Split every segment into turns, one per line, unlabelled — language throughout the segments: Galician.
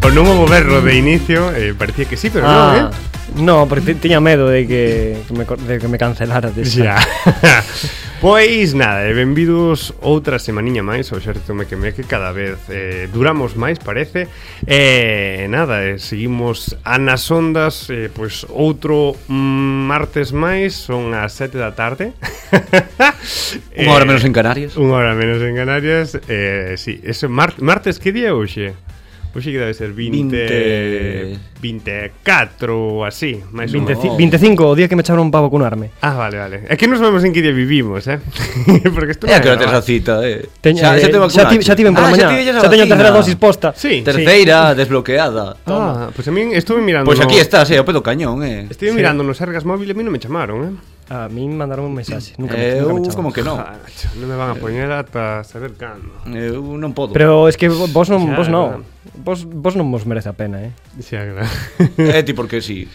Con un goberno de inicio, eh, parecía que sí, pero
Ah,
no, ¿eh?
no, porque te- tiña medo de que, que me, co- de que me cancelara desa.
Ya. pois nada, e benvidos outra semaniña máis ao Xerto Mequeme que cada vez eh, duramos máis, parece. E eh, nada, eh, seguimos a nas ondas, eh, pois outro mm, martes máis, son as 7 da tarde.
Unha hora menos en
Eh,
Canarias.
Unha hora menos en Canarias. Eh, sí, ese mar martes que día é hoxe? Hoxe que debe ser 20... 20... 24 ou así, máis ou
25
menos.
25 o día que me echaron un pavo con un arme.
Ah, vale, vale. É que non sabemos en que día vivimos, eh? Porque isto
É a que hora
non é
tes a
normal.
cita, eh.
Teña- eh, xa, ti- xa tiven por
ah,
la mañá.
Xa,
Xa teño a terceira dosis posta.
Sí.
Terceira, desbloqueada.
Ah,
Toma.
pois pues a min estuve mirando...
Pois aquí estás, eh, ao pedo cañón, eh.
Estive
Sí.
mirando nos Argas Móvil e a mí non me chamaron, eh?
A mí me mandaron un mensaje. Nunca me,
Eu
nunca me echaron.
uh, como Eh, que non. Eh.
Ah, macho, non me van a poñer ata saber cando.
Eu non podo.
Pero es que vo- vos non,
Xa,
vos
verdad.
non. Vos, vos non vos merece a pena, eh?
Xa, claro.
É ti porque si.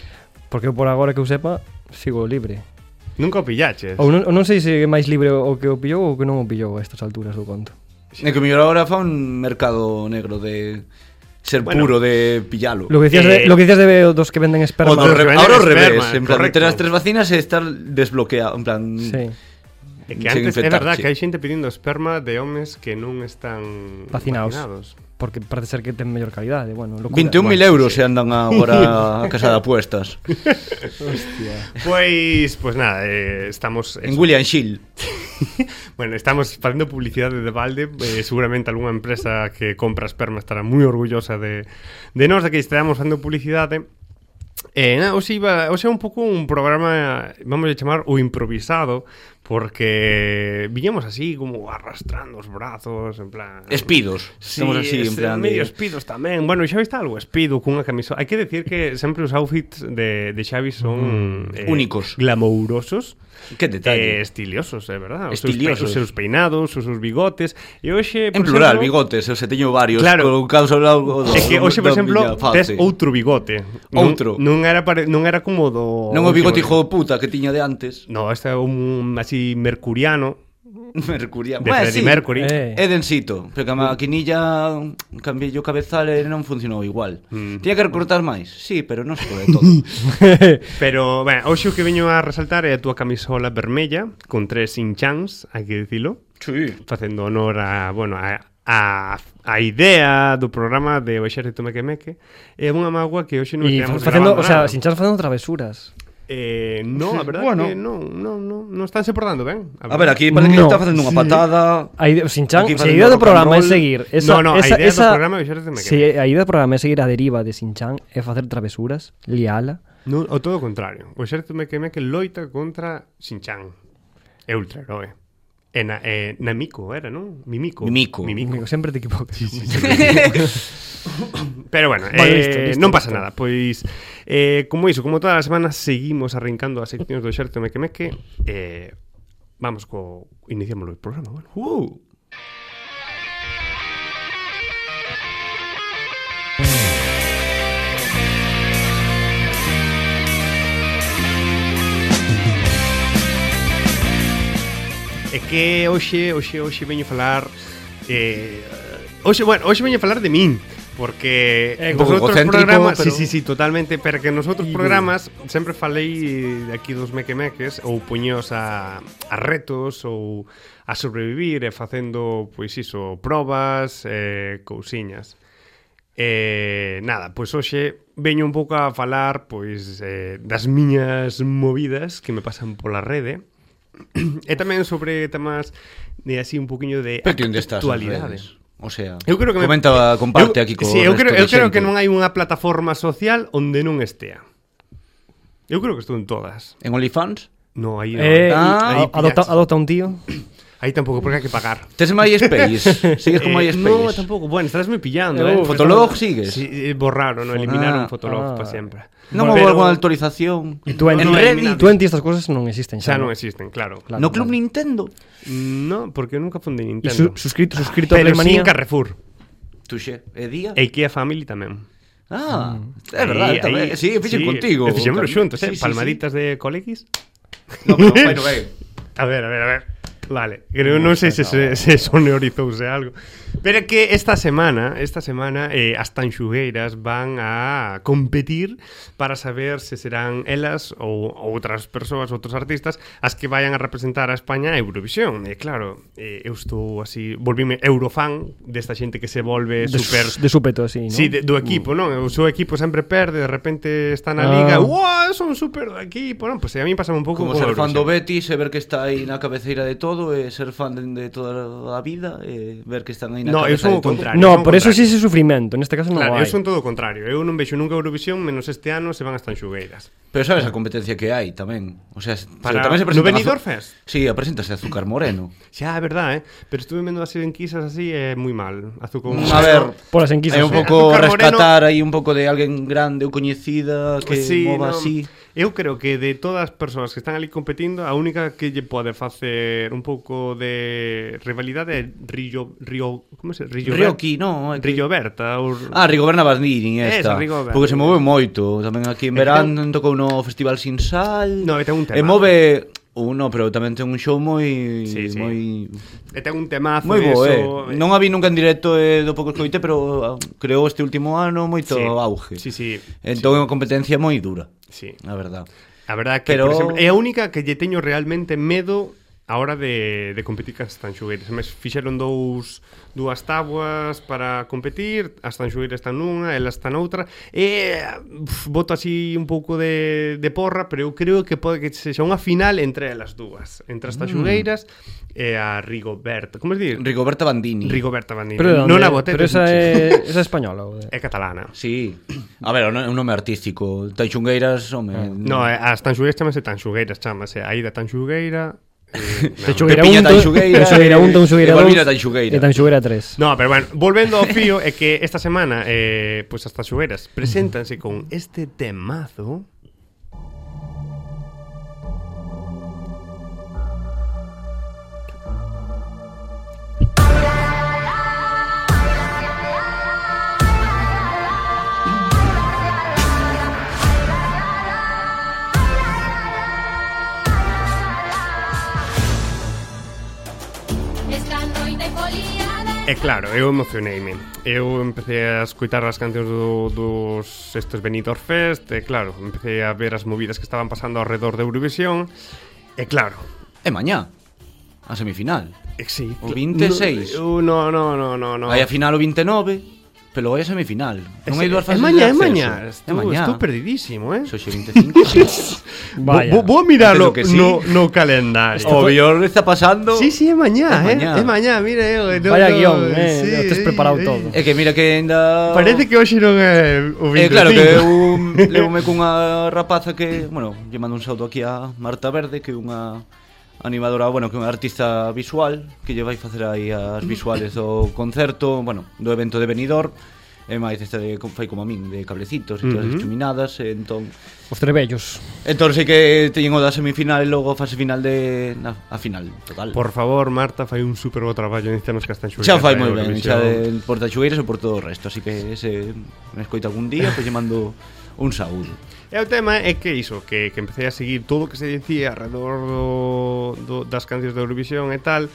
Porque eu por agora que eu sepa, sigo libre.
Nunca o pillaches.
Ou non, ou non sei se é máis libre o que o pillou ou que non o pillou a estas alturas do conto.
É que mellor agora fa un mercado negro de ser
Bueno.
puro de pillalo.
Lo que decías,
Eh,
de, lo que decías de dos que venden esperma.
O do
Los que
re...
venden
Ahora ao revés,
esperma,
en plan,
correcto.
ter as tres vacinas e estar desbloqueado, en plan...
Sí.
É que
Sen
antes é
infectarche.
verdad que hai xente pedindo esperma de homes que non están
Vacinaos.
vacinados.
Porque parece ser que ten mellor calidade, bueno, locura.
21.000
Bueno,
euros se andan agora a casa de apuestas.
Pois, pois nada, eh, estamos
en William Shield.
Bueno, estamos facendo publicidade de balde eh, Seguramente algunha empresa que compra esperma estará moi orgullosa de, de nós De que estamos facendo publicidade Eh, na, hoxe, iba, hoxe é un pouco un programa, vamos a chamar, o improvisado Porque viñamos así como arrastrando os brazos, en plan...
Espidos. Estamos así,
es-
en plan...
medio
de-
espidos tamén. Bueno, Xavi está algo espido cunha camisola. Hai que decir que sempre os outfits de, de Xavi son eh,
Mm, Únicos.
glamourosos.
Que
Eh,
detalle.
estiliosos, é verdad. Os
Estiliosos.
Seus, pe- os seus peinados, os seus bigotes. E hoxe,
En
por
plural,
exemplo,
bigotes, eu se teño varios
Claro.
colocados ao lado do,
É que hoxe, por
da
exemplo,
miña
tes
face.
outro bigote.
Outro.
Non, non, era pare... non era como do...
Non o bigote hijo
último-
de puta que tiña de antes.
No, este é un así mercuriano
Mercurial.
de
Bueno,
Freddie
sí.
Mercury.
Eh.
É densito, pero que a maquinilla cambiei o cabezal e non funcionou igual.
Mm.
Tiña que recortar máis, sí, pero non se pode todo.
Pero, ben, hoxe o que veño a resaltar é a túa camisola vermella con tres hinchans, hai que dicilo,
sí.
facendo honor a, bueno, a, a, a idea do programa de O Exército Mequemeque. É unha magua que hoxe non
Y
estamos
facendo, o sea,
grabando nada.
sin chance facendo travesuras.
Eh, no, a verdade
Bueno.
que non, non, non, non están se portando ben.
A ver, aquí parece que
No,
está facendo unha
sí.
patada.
A ide- sin chan,
Aquí
si a
facendo
idea do
rock and
programa é
roll.
seguir
No,
esa,
no, a
esa,
idea do
esa,
programa, eu xa non sei me
si, a idea do programa é seguir a deriva de sin chan é facer travesuras, liala.
No, o todo o contrario. O Exército Mequemeque loita contra Shinchan. É ultraheroe. E na, eh, Namiko era, non? Mimico.
Mimico.
Mimico.
Amigo, sempre te equivocas.
Pero bueno,
Vale,
eh,
listo, listo,
non pasa
listo.
nada Pois, eh, como iso, como todas as semanas Seguimos arrancando as seccións do xerto mequemeque eh, Vamos co... Iniciamos o programa, bueno
Uh.
É que hoxe, hoxe, hoxe veño falar eh, Hoxe, bueno, hoxe veño falar de min Porque
É
nos outros
egocéntrico,
programas
pero-
Sí, sí, sí, totalmente Pero que nos outros programas Sempre falei de aquí dos mequemeques Ou puños a, a retos Ou a sobrevivir E facendo, pois iso, probas eh, Cousiñas Eh, nada, pois hoxe veño un pouco a falar pois eh, das miñas movidas que me pasan pola rede e tamén sobre temas de así un poquinho de
Pero ti onde estás? nas
actualidade.
redes? O sea,
Eu creo que me-
comenta, comparte
eu,
aquí co
sí, eu creo, eu creo que non
hai
hai unha plataforma social onde non estea. Eu creo que estou en todas.
en OnlyFans.
No, aí non.
Eh,
Ah,
pillas.
adopta, adopta un tío.
Aí tampouco, porque hai que pagar.
Tes MySpace? Sigues
Eh,
con MySpace?
No, tampouco. Bueno, estás me pillando,
Eh,
eh.
uh,
Fotolog sigues?
Sí, eh, borraron, no eliminaron
Ah,
Fotolog
ah.
para sempre.
Non houve
Pero
algunha
no,
autorización?
Twenty,
no, eliminado.
Reddit, Twenty estas cosas non existen
xa
xa.
non existen, claro.
Claro,
No Club
claro.
Nintendo?
No, porque eu nunca fundei
E
Nintendo.
su, suscrito, suscrito a
Pero sí
Playmanía.
en Carrefour.
Tuxe, é día?
E Ikea Family tamén.
Ah,
Mm.
é verdade,
Aí-
tamén.
aí-
Sí, fixen contigo.
E fixémoslo xuntos, eh?
Sí, sí, sí.
Palmaditas de coleguis.
No, pero bueno, ben.
A ver, a ver, a ver. Vale, creo, non sei se, se, se sonorizouse algo Pero é que esta semana Esta semana eh, as tanxugueiras Van a competir Para saber se serán elas Ou outras persoas, outros artistas As que vayan a representar a España a Eurovisión E claro, eh, eu estou así Volvime eurofan desta xente que se volve
de,
super
su- de súpeto así, ¿no? Uh.
Sí, de, do equipo, non? O seu equipo sempre perde, de repente está na
Ah.
liga, ¡Uah, son super do equipo, non? Pois pues a mí pasame un pouco con
Como ser fan
Eurovisión.
do Betis e ver que está aí na cabeceira de todo e ser fan de, de toda a vida e ver que están aí na
No, eu
cabeza
son
de
o
todo.
contrario.
No,
son o
por eso
contrario.
sí ese sufrimento, en este caso non
Claro,
claro,
eu
hai.
son todo o contrario. Eu non vexo nunca Eurovisión, menos este ano se van as tanxugueiras.
Pero sabes a competencia que hai tamén. O sea, se-
Para-
tamén
no
se presenta
Benidorm Fest?
Sí, preséntase Azúcar Moreno.
Xa, é verdade, eh? pero estuve vendo as enquisas así é eh, moi mal. Azuco.
Mm, a ver,
Por as enquisas.
Hai un
sí.
pouco
Azúcar Moreno-
rescatar aí un pouco de alguén grande ou coñecida que sí, mova
non.
así.
Eu creo que de todas as persoas que están ali competindo, a única que lle pode facer un pouco de rivalidade é Rio, Rio, como se? Rio
Rioqui, no, é que-
Rio Berta ou
Ah, Rigoberna Bandini
Esa,
esta.
Rigoberna.
Porque se move moito, tamén aquí
E
en
que
verán tocou no Festival Sin Sal.
No, e ten un tema.
E move uno, pero tamén ten un show moi
Sí, sí.
moi
E ten un temazo
moi bo, eh.
eso,
Non a vi nunca en directo eh, do pouco escoite, pero ah, creou este último ano moito
Sí.
auge.
Sí, sí.
Entón é unha competencia moi dura,
Sí.
a verdad.
A verdade que, Pero...
Pero-
por exemplo, é a única que lle teño realmente medo a hora de, de competir cas tanxugueiras. Mes fixeron dous dúas tabuas para competir, as tanxugueiras están nunha, elas están noutra, e Eh, uf, boto así un pouco de, de porra, pero eu creo que pode que sexa unha final entre elas dúas, entre as
Mm.
tanxugueiras e a Rigoberta. Como se dir?
Rigoberta Bandini.
Rigoberta Bandini.
Pero, de
non
onde-
a botei.
Pero esa é, esa é española. o de-
é catalana.
Sí. A ver, un, un nome artístico. Tanchungueiras, home...
No, eh, as tanxugueiras chamase tanxugueiras, chamase Aida Tanxugueira. Eh, non.
De Xugueira
Pepiña
1,
tan Xugueira,
de
eh.
Xugueira 1, de Xugueira
e
2
Balbina tan Xugueira.
e tan Xugueira 3.
No, pero bueno, volvendo ao fío é que esta semana eh, pois as tanxugueiras preséntanse con este temazo
Esta noite foliada
E claro, eu emocioneime Eu empecé a escutar as cancións do, dos estes Benidorm Fest E claro, empecé a ver as movidas que estaban pasando alrededor de Eurovisión E claro,
É mañá. A semifinal.
e sí,
O 26.
No, eu no, no, no, no, no.
Vai a final o 29, pero vai a semifinal. Non hai dúas
É
fases
mañá, é
de acceso.
mañá
É
Estou,
mañá.
estou perdidísimo, eh
Soxe e 25.
Vaya.
Vou, vou miralo
Creo que sí.
no, no calendario
o mellor está pasando...
Sí, sí, é mañá, é
É mañá.
eh? É mañá, mira, eu, no,
Vaya
no,
guión, eh, o tes preparado todo.
É que mira que ainda...
Parece que hoxe non é o 25.
Eh, claro, que eu leume cunha rapaza que, bueno, lle mando un saúdo aquí a Marta Verde, que é unha animadora, bueno, que é unha artista visual, que lle vai facer aí as visuales do concerto, bueno, do evento de Benidorm, e máis este de, fai como a min, de cablecitos e
Ujú.
todas uh -huh. chuminadas, e entón...
Os trebellos.
Entón sei que teñen o da semifinal e logo a fase final de... Na, a final, total.
Por favor, Marta, fai un super bo traballo en Cianos Castanxueiras.
Xa fai
eh,
moi ben,
Eurovisión.
xa de, por Tachugueiras e por todo o resto, así que se me escoita algún día, pois lle mando un saúdo.
E o tema é que iso, que, que empecé a seguir todo o que se dicía alrededor do, do, das cancións de Eurovisión e tal.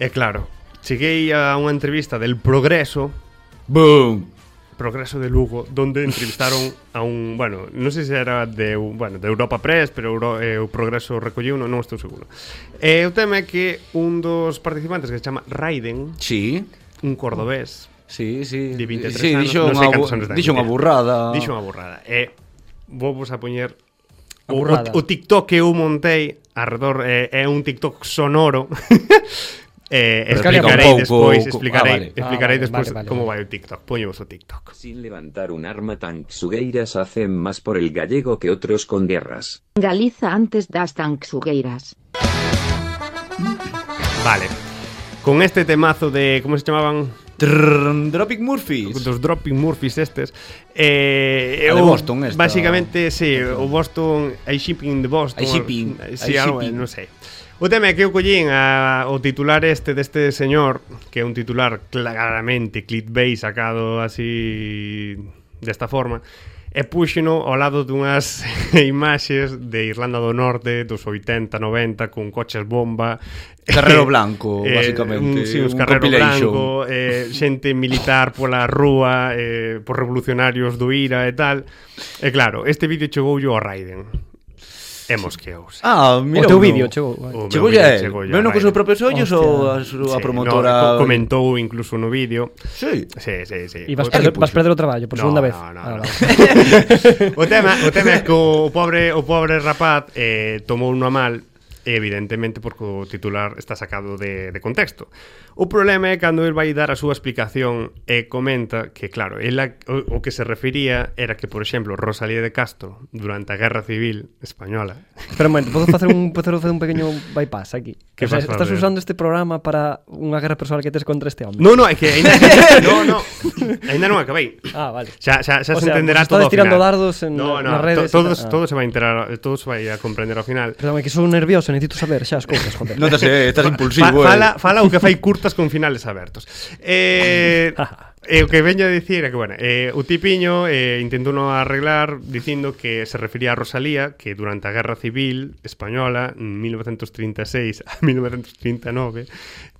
E claro, cheguei a unha entrevista del Progreso,
Boom!
Progreso de Lugo, donde entrevistaron a un, bueno, non sei se era de, Eu- bueno, de Europa Press, pero Euro, eh, o Progreso recolleu, non, non estou seguro. E o tema é que un dos participantes que se chama Raiden,
Sí,
un cordobés,
sí, sí.
de 23
sí,
anos,
dixo
non sei
unha
cantos
bu-
anos ten,
Dixo unha
mentira.
burrada.
Dixo unha burrada. E vos a poñer
A
o, o,
burrada.
o TikTok que eu montei arredor eh, é un TikTok sonoro. eh,
Pero explica un
explicarei
pouco
despois,
co-
explicarei,
ah, vale.
explicarei
Ah, vale,
despois
vale, vale,
como
vale.
vai o TikTok. Poñemos o TikTok.
Sin levantar un arma, Tanxugueiras hacen más por el gallego que otros con guerras.
Galiza antes das tanxugueiras.
Vale. Con este temazo de. ¿Cómo se llamaban?
Trrr, Dropic Murphys.
Dos Dropping Murphys estes eh,
A de
eu,
Boston esta.
Basicamente, sí, o Boston I Shipping de Boston
I Shipping,
sí,
I
algo,
Shipping.
non sei O tema é que eu collín a, o titular este deste señor Que é un titular claramente clickbait sacado así desta forma E puxeno ao lado dunhas imaxes de Irlanda do Norte dos 80, 90 con coches bomba
Carrero blanco,
Eh,
basicamente.
Un, sí, uns
un
carrero
compilation.
blanco, eh, xente militar pola rúa, eh, por revolucionarios do IRA e tal. E claro, este vídeo chegou yo a Raiden. E mosqueouse.
Ah,
Mira, o
mira
teu
uno. eh.
vídeo, chegou.
O meu
Chegoulle a
vídeo
él.
chegoulle a
Veno cos
Raiden.
seus propios ollos ou a
Sí, no,
súa promotora?
co- comentou incluso no vídeo.
Sí.
Sí, sí, sí.
E
O-
vas, perder, vas
puxo.
perder o traballo por
No, no,
segunda vez.
no,
Ah,
no.
vale.
o tema, o tema é que o pobre o pobre rapaz eh, tomou unha mal e evidentemente porque o titular está sacado de, de contexto. O problema é cando el vai dar a súa explicación e comenta que, claro, el a, o, o que se refería era que, por exemplo, Rosalía de Castro, durante a Guerra Civil Española,
Espera un momento, podo facer un, podo facer un pequeño bypass aquí.
Que
O sea,
vas a
estás
ver?
usando este programa para unha guerra personal que tes contra este home.
No, no, é que ainda, no, no, ainda non acabei.
Ah, vale.
Xa, xa, xa
O
se
sea,
entenderá
vos
todo
estades
ao
tirando
final.
dardos en-
no, no,
nas redes
to-
e
todos,
tal. Ah.
todos se vai enterar, todos se vai a comprender ao final.
Perdón, é que sou nervioso, necesito saber xa as cousas, joder.
Non te sé,
Fa,
estás impulsivo. eh.
fala, fala o que fai curtas con finales abertos. Eh, eh, o que veño a dicir é que, bueno, eh, o tipiño eh, intentou non arreglar dicindo que se refería a Rosalía, que durante a Guerra Civil Española, en 1936 a 1939,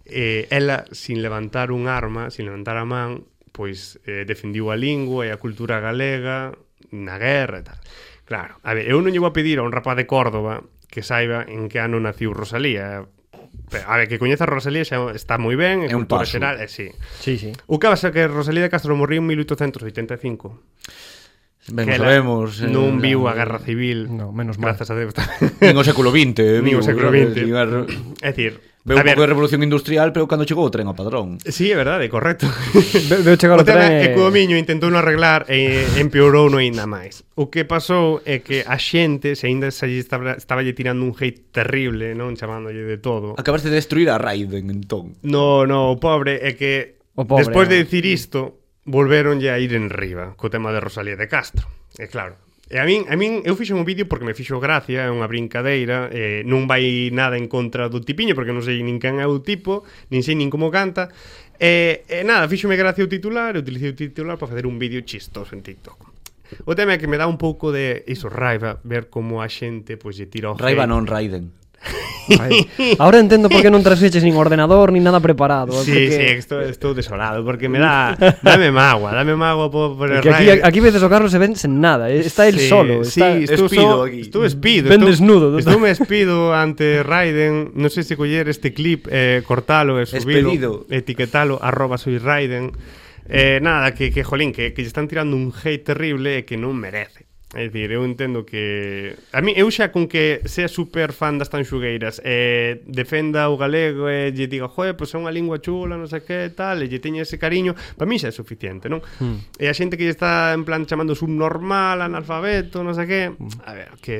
eh, ela, sin levantar un arma, sin levantar a man, pois eh, defendiu a lingua e a cultura galega na guerra e tal. Claro, a ver, eu non llevo a pedir a un rapaz de Córdoba que saiba en que ano naciu Rosalía. Pero, a ver, que coñeza a Rosalía xa está moi ben, en
É un
cultura
paso.
xeral, eh, sí.
Sí, sí.
O que pasa é que Rosalía de Castro morreu en 1885.
Ben,
que ela
sabemos. eh,
non viu a guerra civil.
No, menos mal.
Grazas a Deus.
Nin o século XX.
Nin o
viu,
século
eh,
XX.
nin a re-
É dicir,
Veu
a
un pouco de
ver,
revolución industrial, pero cando chegou o tren ao padrón.
sí, é verdade, correcto.
Ve- Veo
O
chegar o
tema
tren
é
e...
que o Miño intentou non arreglar e empeorou no aínda máis. O que pasou é que a xente se aínda se lle estaba, estaba lle tirando un hate terrible, non chamándolle de todo.
Acabaste de destruir a Raiden, entón.
No, no, o pobre é que
O pobre, eh,
despois de
no.
dicir isto, volveronlle a ir en riba co tema de Rosalía de Castro. É claro. E a min, a min eu fixo un vídeo porque me fixo gracia, é unha brincadeira, eh, non vai nada en contra do tipiño porque non sei nin can é o tipo, nin sei nin como canta. E, e nada, fixome gracia o titular, e utilicei o titular para facer un vídeo chistoso en TikTok. O tema é que me dá un pouco de iso raiva ver como a xente pois lle tira o
Raiva
hate.
non, Raiden.
Ai, Ahora entendo por que non trasfeches nin ordenador, nin nada preparado.
Sí,
porque...
sí, estou, estou desolado porque me dá dame mágoa, dame mágoa por, por el
Porque aquí,
Raiden.
aquí veces o Carlos se ven sen nada, eh, está el
Sí,
solo.
sí,
está...
estou
Espido
so-
aquí.
Estou espido,
Ben
estou-
desnudo,
Estou me espido ante Raiden, non sei se coller este clip, eh, cortalo e subilo,
Espedido.
etiquetalo arroba soy Raiden. Eh, nada, que, que jolín, que, que lle están tirando un hate terrible e que non merece. É dicir, eu entendo que... A mí, eu xa con que sea super fan das tanxugueiras e defenda o galego e lle diga, joe, pois é unha lingua chula, non sei que, tal, e lle teña ese cariño, para mí xa é suficiente, non? Mm. E a xente que lle está, en plan, chamando subnormal, analfabeto, non sei que... A ver, que...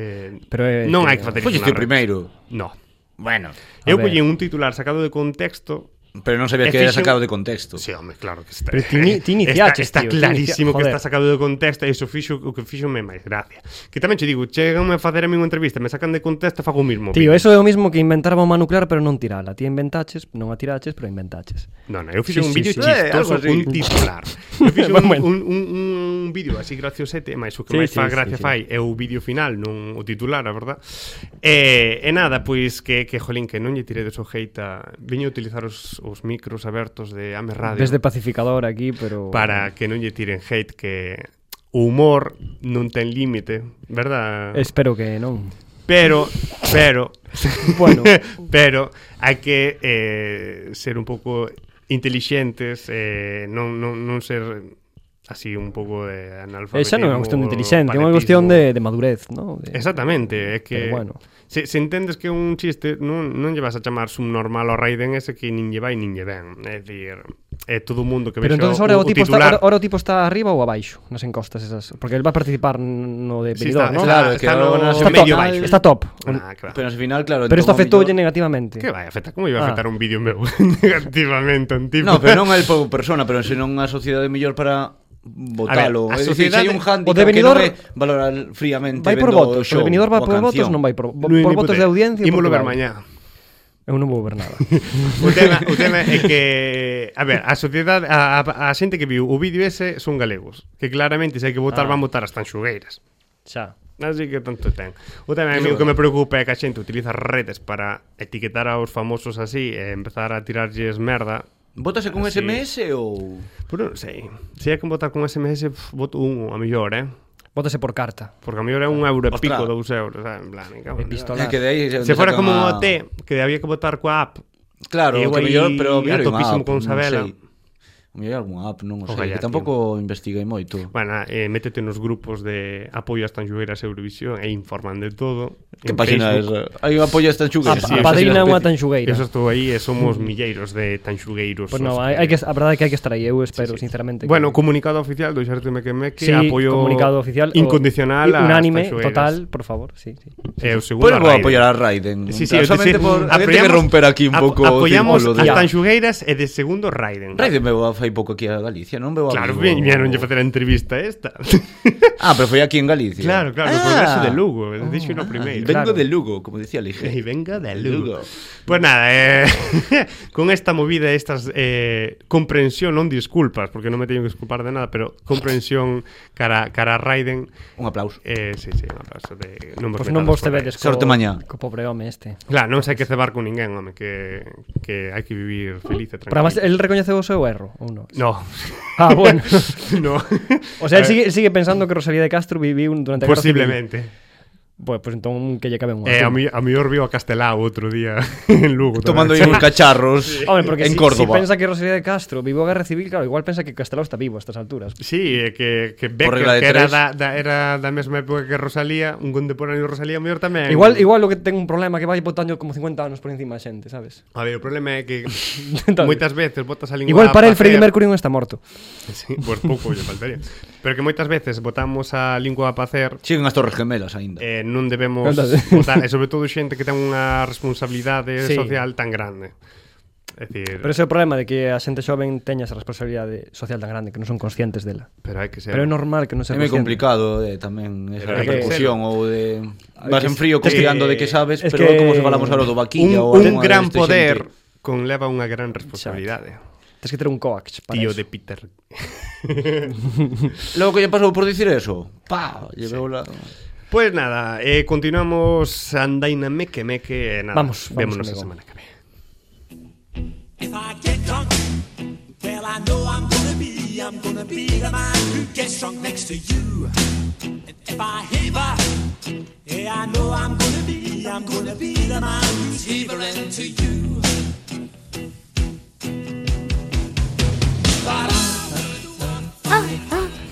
Pero é
non
que-
hai que facer
Foxe
iso
este
na rede.
primeiro.
No.
Bueno.
Eu
ver.
collín un titular sacado de contexto
Pero non
E
sabías que era
fixen-
sacado de contexto.
Sí, home, claro que está.
Pero ti ni- ti iniciaches,
está, está
tío, ti
clarísimo
inicia-
que
joder.
está sacado de contexto e iso fixo o que fixo me máis gracia. Que tamén che digo, chegame a facer a mí unha entrevista, me sacan de contexto e fago o mismo. vídeo.
Tío, eso é o mismo que inventar a bomba nuclear pero non tirala. Ti inventaches, non a tiraches, pero inventaches.
No, no, eu fixo
Sí,
un
sí,
vídeo
sí.
Eh, algo
chistoso
así.
un titular. Eu fixo un,
Bueno.
un, un, un vídeo así graciosete, máis o que
Sí,
máis
sí,
fa
sí,
gracia
sí.
fai é o vídeo final, non o titular, a verdad. E, e nada, pois que, que jolín, que non lle tirei o hate a... Viño a utilizar os, os micros abertos de Ame Radio.
Ves de pacificador aquí, pero
para que non lle tiren hate que o humor non ten límite, verdad?
espero que non.
Pero, pero,
Bueno,
pero hai que eh, ser un pouco intelixentes, eh, non, non, non ser así un pouco de
eh,
analfabetismo.
xa non é unha cuestión de
o
inteligencia, é unha cuestión
paletismo.
de, de madurez, ¿no? De...
Exactamente, é que
Pero bueno.
se, se entendes que é un chiste non, non lle vas a chamar subnormal ao Raiden ese que nin lle vai nin lle ven É dicir, eh, todo o mundo que
Pero
vexo
entonces ahora
o, o
o, tipo está,
titular...
ahora, ahora o tipo está arriba ou abaixo nas encostas esas, porque el va a participar no de
Sí, está,
Benidorm, ¿no?
está,
Claro,
está,
que ahora
no,
van a
está,
ser
medio
top,
baixo.
está top.
Ah, claro.
Pero al final, claro.
Pero isto
entón,
afectoulle
mellor-
negativamente.
Que vai afectar? Como iba a
Ah.
afectar un vídeo meu negativamente un tipo?
No, pero non é por persona, pero senón a sociedade mellor para votalo.
A ver, a
É dicir, se
sociedade-
hai un
o
handicap
de Benidorm-
que non é valorar fríamente
Vai por
vendo
votos,
o
o
show,
de Benidorm vai
ou a
por votos,
canción.
non vai por,
Non hai ni
por
puta
votos de
idea.
audiencia.
Ímolo ver mañá.
Portugal. Eu non vou ver nada.
O tema, o tema é que A ver, a sociedade a, a, a xente que viu o vídeo ese son galegos Que claramente se hai que votar ah.
Ah.
van votar as tanxugueiras
Xa.
Así que tanto ten O tema a mí o que me preocupa é que a xente utiliza redes para etiquetar aos famosos así E empezar a tirarlles merda
Vótase con
Así.
SMS ou...
Pero non sei Se hai que votar con SMS, pf, voto un a mellor, eh
Vótase por carta.
Porque a mellor é un euro e
Ostras.
pico, dous euros eh? En plan, me cago en
E
Dios.
pistola.
que de aí é onde
Se fora
sacan
como o
a-
T, que había que votar coa app
Claro,
Eu
que
aí
mellor, pero mellor hai unha
atopísimo
app,
con
non
Sabela.
sei. O mellor hai algunha app, non o
Ojalá,
sei, que
tío.
tampouco investiguei moito.
Bueno, eh, métete nos grupos de apoio ás tanxugueiras Eurovisión e informan de todo.
Que
En
página eh? é
Facebook.
esa? Hai unha polla esta enxuga.
A,
sí,
a padrina é unha tanxugueira.
Eso estou aí e somos milleiros de tanxugueiros.
Mm. Pues no,
os
hai, hai que, a verdade é que hai que estar aí, eu espero, sinceramente. que-
Bueno, comunicado oficial do Xerte Mequeme que
Sí,
apoio
comunicado oficial o-
incondicional
i-
ás
unánime,
tanxugueiras.
total, por favor, sí, sí.
E o segundo
Pois vou
a Raiden.
apoiar a Raiden.
Sí, sí,
Claro,
é
solamente
dicir,
por... Había que
apoiamos-
romper aquí un
ap-
pouco o
apoiamos
círculo
as
de...
tanxugueiras e de segundo Raiden.
Raiden veu a fai pouco aquí a Galicia, non veu a
Claro,
Vigo.
viñeron a facer a entrevista esta.
Ah, pero foi aquí en Galicia.
Claro, claro,
ah,
o Congreso de Lugo, dixo no primeiro.
Claro.
Vengo de Lugo, como decía Lige.
Y venga de
Lugo.
Lugo. Pues nada, eh, con esta movida, estas eh, comprensión, non disculpas, porque non me teño que disculpar de nada, pero comprensión cara, cara a Raiden.
Un aplauso.
Eh, sí, sí, un aplauso de... Non
Pois pues non vos te vedes co,
Sorte mañá.
co pobre home este.
Claro, non sei que cebar con ninguén, home, que, que hai que vivir feliz e tranquilo.
Pero además, el recoñeceu o seu erro, ou non?
No.
Ah, bueno.
no.
O sea,
A ver,
él sigue, él sigue pensando que Rosalía de Castro viviu durante a Guerra Civil.
Posiblemente.
Pois pues, entón que lle cabe un
Eh, a, mi, a mellor vivo a Castelao outro día en Lugo. tamén.
Tomando aí uns cacharros
Hombre, porque si,
en
si
Córdoba.
pensa que Rosalía de Castro viviu a Guerra Civil, claro, igual pensa que Castelao está vivo a estas alturas.
Sí, eh, que, que Becker,
regla de
que era
tres.
da, da, era da mesma época que Rosalía, un contemporáneo de Rosalía, o mellor tamén.
Igual igual lo que ten un problema é que vai botando como 50 anos por encima da xente, sabes?
A ver, o problema é que
Entonces,
moitas veces botas a lingua
Igual
a
para el Freddie
pacer.
Mercury non está morto.
Sí, pois pouco lle faltaría. Pero que moitas veces botamos a lingua a pacer
Siguen as Torres Gemelas aínda.
eh, non debemos
Verdade.
botar, e sobre todo xente que ten unha responsabilidade
Sí.
social tan grande. É dicir,
Pero
pero,
ese é o problema de que a xente xoven teña esa responsabilidade social tan grande que non son conscientes dela.
pero hai que ser
Pero é normal que non se
É moi complicado eh, tamén esa
Pero hai que
repercusión ou de
Hai
vas
que-
en
es
frío
que-
confiando de que sabes,
es
pero
que-
como se falamos ahora do vaquilla
un,
ou
un
algunha
gran
deste
poder
xente.
conleva unha gran responsabilidade.
Tens que ter un coax para
Tío
eso.
de Peter.
Logo que lle pasou por dicir eso, pa, lle veu la
Pues nada, eh, continuamos Andaina Meque Meque. eh, Nada,
Vamos, vamos,
vémonos la
amigo.
semana que viene.
If I get drunk, well, I know I'm gonna be, I'm gonna be the man who gets drunk next to you. And if I heaver, yeah, I know I'm gonna be, I'm gonna be the man who's heavering to you.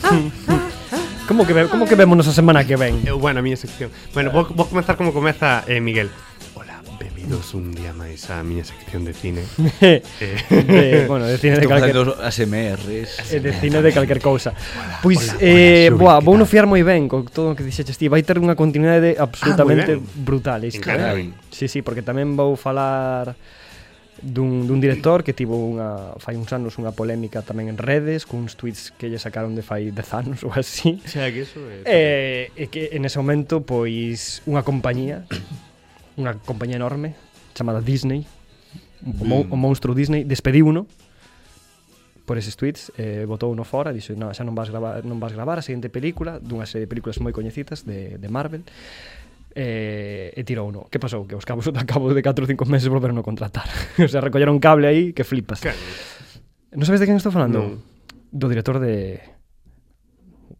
But
Como que ve- como que vémonos a semana que ven?
Eh, bueno, a miña sección. Bueno, vou, vou comenzar como comeza eh, Miguel. Hola, bebidos un día máis a miña sección de cine.
de, Eh, bueno, de cine de
Estou
calquer,
facendo os ASMRs.
eh, de cine de calquer cousa. Pois
hola,
eh,
hola, Xubi,
boa,
que
vou no
tal? Ah,
fiar moi ben co todo o que dixeches ti, vai ter unha continuidade absolutamente
moi ben.
brutal isto.
Carai.
Eh? Sí, sí, porque tamén vou falar dun, dun director que tivo unha fai uns anos unha polémica tamén en redes cuns tweets que lle sacaron de fai 10 anos ou así.
O sea, que eso é...
Eh, e que en ese momento pois unha compañía unha compañía enorme chamada Disney o, mon, o monstruo Disney despediu uno por eses tweets eh, botou uno fora dixo no, xa non vas, gravar, non vas gravar a seguinte película dunha serie de películas moi coñecidas de, de Marvel eh, e tirou uno que pasou? que os cabos a cabo de 4 ou 5 meses volveron a contratar o sea, recolleron cable aí que flipas non sabes de quen estou falando?
Non.
do director de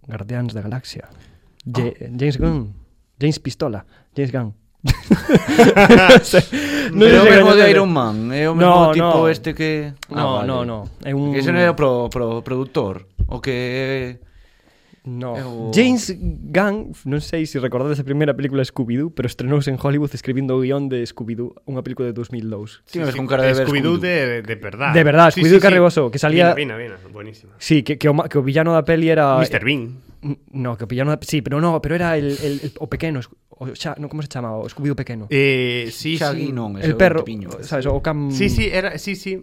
Guardians da Galaxia. Ja- James Gunn. James Pistola. James Gunn.
No é o
se
mesmo
coñece.
de Iron Man, é o
No,
mesmo tipo
no.
este que...
No,
Ah,
no, no, é un-
Ese non era pro, pro produtor, o que é
No.
É
Oh.
o-
James Gunn, non sei se recordades a primeira película Scooby-Doo, pero estrenouse en Hollywood escribindo o guión de Scooby-Doo, unha película de 2002.
Ti me ves con cara de ver
Scooby-Doo de,
Scooby-Doo.
de verdad.
De verdad, Scooby-Doo Carriboso, que salía- Ah,
Vina, vina, vina, buenísima.
Sí, que, que, o, ma- que o villano da peli era...
Mr. Bean.
N- No, que o villano da... Sí, pero no, pero era el, el, el o pequeno, Sco- o xa, no, como se chamaba? O Scooby-Doo pequeno.
Eh, sí, sí.
Shaggy non, ese é
el
o
perro,
tipiño.
sabes, o can...
Sí, sí, era, sí, sí.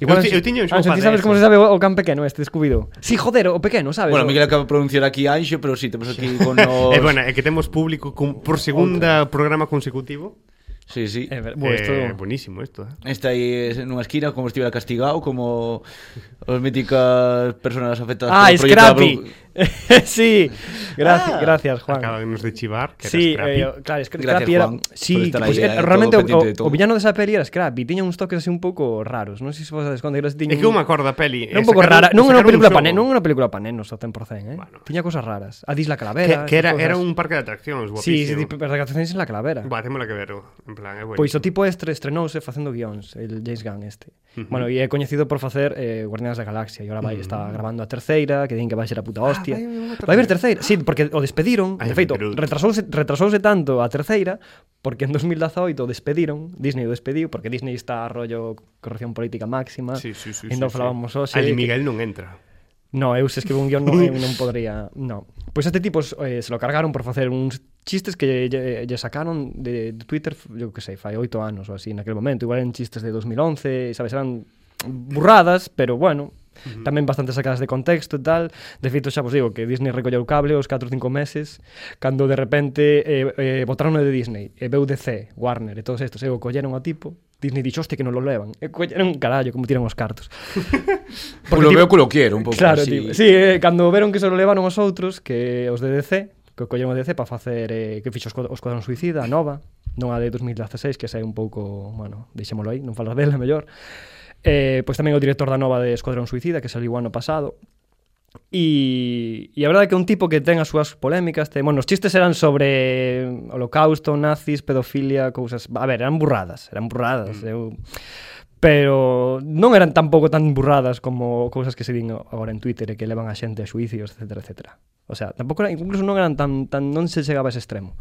Igual,
eu, ti- eu tiño un
Ah,
xopá
ti sabes como se sabe o, o can pequeno este, Scooby-Doo? Sí, joder, o pequeno, sabes?
Bueno,
O-
Miguel acaba de pronunciar aquí Anxo, pero sí, temos aquí con os...
É Eh, bueno, é que temos público con, por segunda programa consecutivo.
Sí, sí.
É ver-
Bueno,
bueno,
eh,
isto...
esto... Buenísimo isto, eh.
Está aí eh, nunha esquina como estivera castigado, como os míticas personas afectadas
Ah,
polo este proyecto da
Scrappy.
Bru-
sí, gracias,
Ah.
gracias Juan.
Acabanos de chivar, que
sí,
era Scrappy.
eh, claro, es que
Gracias,
Scrappy era...
Juan, por
sí,
estar
pues,
ahí,
era-
eh,
realmente
todo pendiente de
o,
todo.
o villano desa peli era Scrappy, tiña uns toques así un pouco raros, non sei se vos dades conta, era así, tiña
É que eu me acordo da peli.
Era
eh,
un pouco
sacaron-
rara, non
sacaron
era unha
un
película
xogo.
pa nenos, non era unha película pa nenos ao 100%, eh.
Bueno.
Tiña cosas raras, a Dis la
Que,
Calavera.
que era,
estas
era
cosas.
un parque de atraccións,
Sí, sí,
guapísimo.
tipo, regateacións en la Calavera.
Va, témola que ver, en plan, é bueno.
Pois o tipo este estrenouse facendo guións, el James Gunn este. Uh -huh. Bueno, e é coñecido por facer eh, Guardianes da Galaxia e agora
Mm.
vai, uh -huh. está gravando a terceira, que din que vai ser a puta
Ah,
hostia.
vai haber unha
vai haber terceira, sí, porque o despediron,
Ai,
de feito,
pero-
retrasouse, retrasouse tanto a terceira, porque en 2018 o despediron, Disney o despediu, porque Disney está a rollo corrección política máxima.
Sí, sí, sí,
Entón
sí,
falábamos
sí.
hoxe
Ali
que-
Miguel non entra.
No, eu se escribo un guión non, eu non podría... No. Pois este tipo eh, se lo cargaron por facer uns chistes que lle, lle sacaron de, de Twitter, eu que sei, fai oito anos ou así naquele momento. Igual eran chistes de 2011, sabes, eran burradas, pero bueno, Uh -huh. tamén bastante sacadas de contexto e tal de feito xa vos digo que Disney recolleu o cable os 4 ou 5 meses cando de repente eh, eh, botaron de Disney e veu DC, Warner e todos estos e o colleron a tipo Disney dixo hoste que non lo levan e colleron carallo como tiran os cartos
Culo veo, culo quiero, un pouco
Claro,
así.
tío. Sí, eh, cando veron que só levaron os outros, que os de DC, que colleron o DC para facer eh, que fixo os Escuad- o Escuadrón Suicida, a nova, non a de 2016, que sai un pouco, bueno, deixémolo aí, non falar dela mellor. Eh, pois tamén o director da nova de Escuadrón Suicida, que saliu o ano pasado, E, e a verdade é que é un tipo que ten as súas polémicas ten, bueno, os chistes eran sobre eh, holocausto, nazis, pedofilia cousas, a ver, eran burradas eran burradas mm. eu, pero non eran tampouco tan burradas como cousas que se din agora en Twitter e que levan a xente a xuicios, etc, etc. O sea, tampouco eran, incluso non eran tan, tan non se chegaba a ese extremo.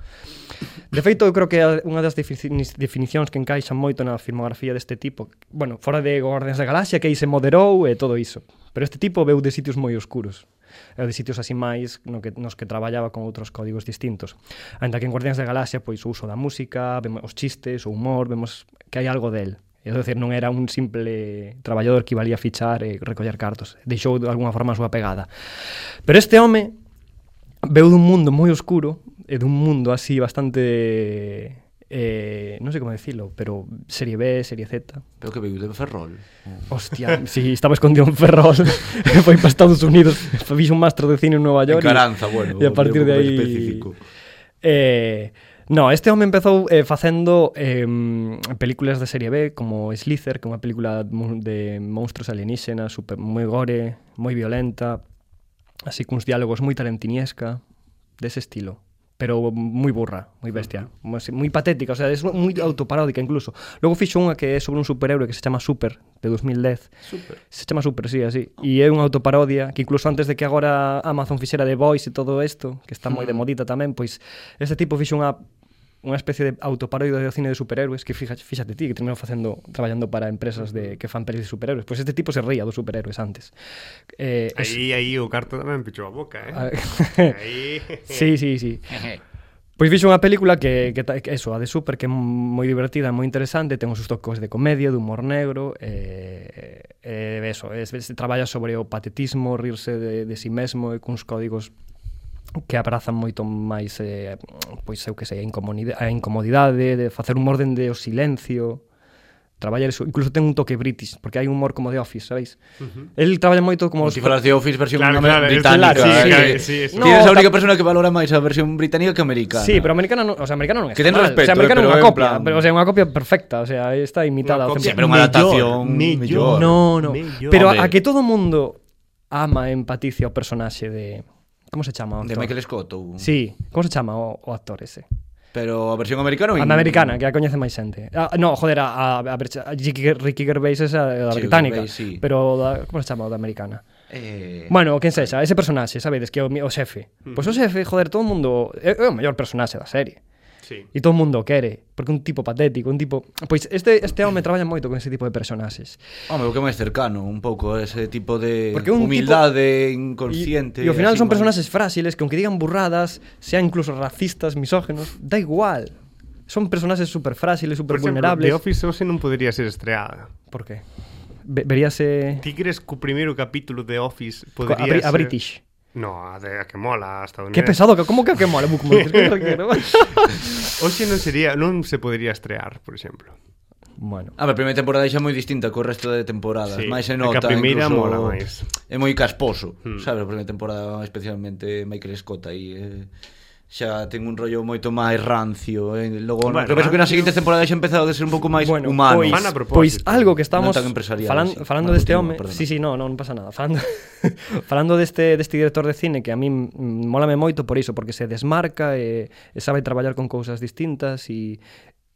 De feito, eu creo que a- unha das defini- definicións que encaixan moito na filmografía deste tipo, bueno, fora de Guardians da Galaxia, que aí se moderou e todo iso. Pero este tipo veu de sitios moi oscuros. E de sitios así máis no que, nos que traballaba con outros códigos distintos. Ainda que en Guardians da Galaxia, pois, o uso da música, vemos os chistes, o humor, vemos que hai algo del. É dicir, non era un simple traballador que valía fichar e recoller cartos. Deixou de alguna forma a súa pegada. Pero este home veu dun mundo moi oscuro e dun mundo así bastante eh, non sei como decirlo, pero serie B, serie Z.
Pero que veu de Ferrol.
Hostia, si estaba escondido en Ferrol, foi para Estados Unidos, fixo un máster de cine en Nova York. e-
Caranza, bueno,
E a partir de
un pouco
aí
específico.
Eh, no, este home empezou eh, facendo eh, películas de serie B como Slither, que é unha película mu- de monstruos alienígenas, super, moi gore, moi violenta, así cuns diálogos moi tarantiniesca, dese estilo pero moi burra, moi bestia, moi, moi patética, o sea, é moi autoparódica incluso. Logo fixo unha que é sobre un superhéroe que se chama Super, de 2010. Super. Se chama Super, sí, así. E é unha autoparodia que incluso antes de que agora Amazon fixera The Voice e todo isto, que está moi de modita tamén, pois este tipo fixo unha unha especie de autoparodia do cine de superhéroes que fíjate, fíjate ti que terminou facendo traballando para empresas de que fan pelis de superhéroes, pois este tipo se ría dos superhéroes antes. Eh, es-
Aí, aí, o carto tamén pichou a boca, eh.
Ah,
Aí.
Sí, sí, sí. Pois fixo unha película que, que, ta- que eso, a de Super, que é moi divertida, moi interesante, ten os seus toques de comedia, de humor negro, e eh, eh, eso, es, es, traballa sobre o patetismo, rirse de, de si sí mesmo e cuns códigos que abrazan moito máis eh, pois eu que sei, a incomodidade, a incomodidade de facer humor dende o silencio traballar eso, incluso ten un toque british porque hai un humor como de Office, sabéis? Uh -huh. El traballa moito como os
Como si falas de Office versión
Claro, claro,
claro, británica.
claro, sí,
eh,
claro,
que
sí, eso.
ti eres
No,
a única
tam-
persona que valora máis a versión británica que americana.
Sí, pero americana non, o sea, americana non é
Que ten
mal,
respeto,
o sea, americana é
eh, pero
unha
en
copia,
plan-
pero o sea, é unha copia perfecta, o sea, está imitada
Unha
ao
copia-
100%.
Sempre unha
Mellor,
adaptación
mellor.
mellor.
No, no.
Mellor.
Pero a,
Hombre.
a que todo mundo ama e empaticia o personaxe de Como se chama o
De
actor?
Michael Scott ou...
Sí, como se chama o, o actor ese?
Pero a versión americana ou
A
en-
da americana, que a coñece máis xente. Ah, no, joder, a, a, a, ver, a Ricky, Ricky Gervais esa é da
Sí,
británica,
Gervais, sí.
pero da, como se chama o da americana?
Eh,
Bueno, o quen sexa, ese personaxe, sabedes, que é o, mi- o xefe. Pois o xefe, joder, todo o mundo é, é o mellor personaxe da serie.
Sí.
E todo o mundo o quere, porque é un tipo patético, un tipo... Pois este, este home traballa moito con ese tipo de personaxes.
Home, o que é máis cercano, un pouco ese tipo de
Porque é un
humildade
E,
Eh, inconsciente.
e ao final
así,
son
máis-
personaxes frágiles que aunque digan burradas, sean incluso racistas, misógenos, da igual. Son personaxes super frágiles, super
Por exemplo, The
vulnerables.
Office hoxe non podría ser estreada.
Por que? Ve, veríase
Ti crees que o primeiro capítulo de Office
co-
podría
a, bri-
ser...
a British.
No, a, de, a que mola, hasta
Que pesado, que como que que mola, como que que requiero.
Hoxe non sería, non se podría estrear, por exemplo.
bueno.
A ver, a primeira temporada xa é moi distinta co resto de temporadas,
Sí,
máis
é
se
que
nota,
a primeira
incluso
mola Hmm. máis.
É moi casposo, mm. sabes, a primeira temporada especialmente Michael Scott aí eh, xa ten un rollo moito máis rancio, eh. logo
Bueno,
bueno, penso que nas
rancio.
seguintes temporadas xa empezado a ser un pouco máis
Bueno, pues,
humano.
pois,
Van a propósito.
pois algo que estamos
Non tan empresarial,
falan,
sí.
falando
Bueno,
deste
continúa,
home,
perdona.
sí, sí, no, non pasa nada. Falando falando deste deste director de cine que a min mm, mólame moito por iso, porque se desmarca e, e sabe traballar con cousas distintas e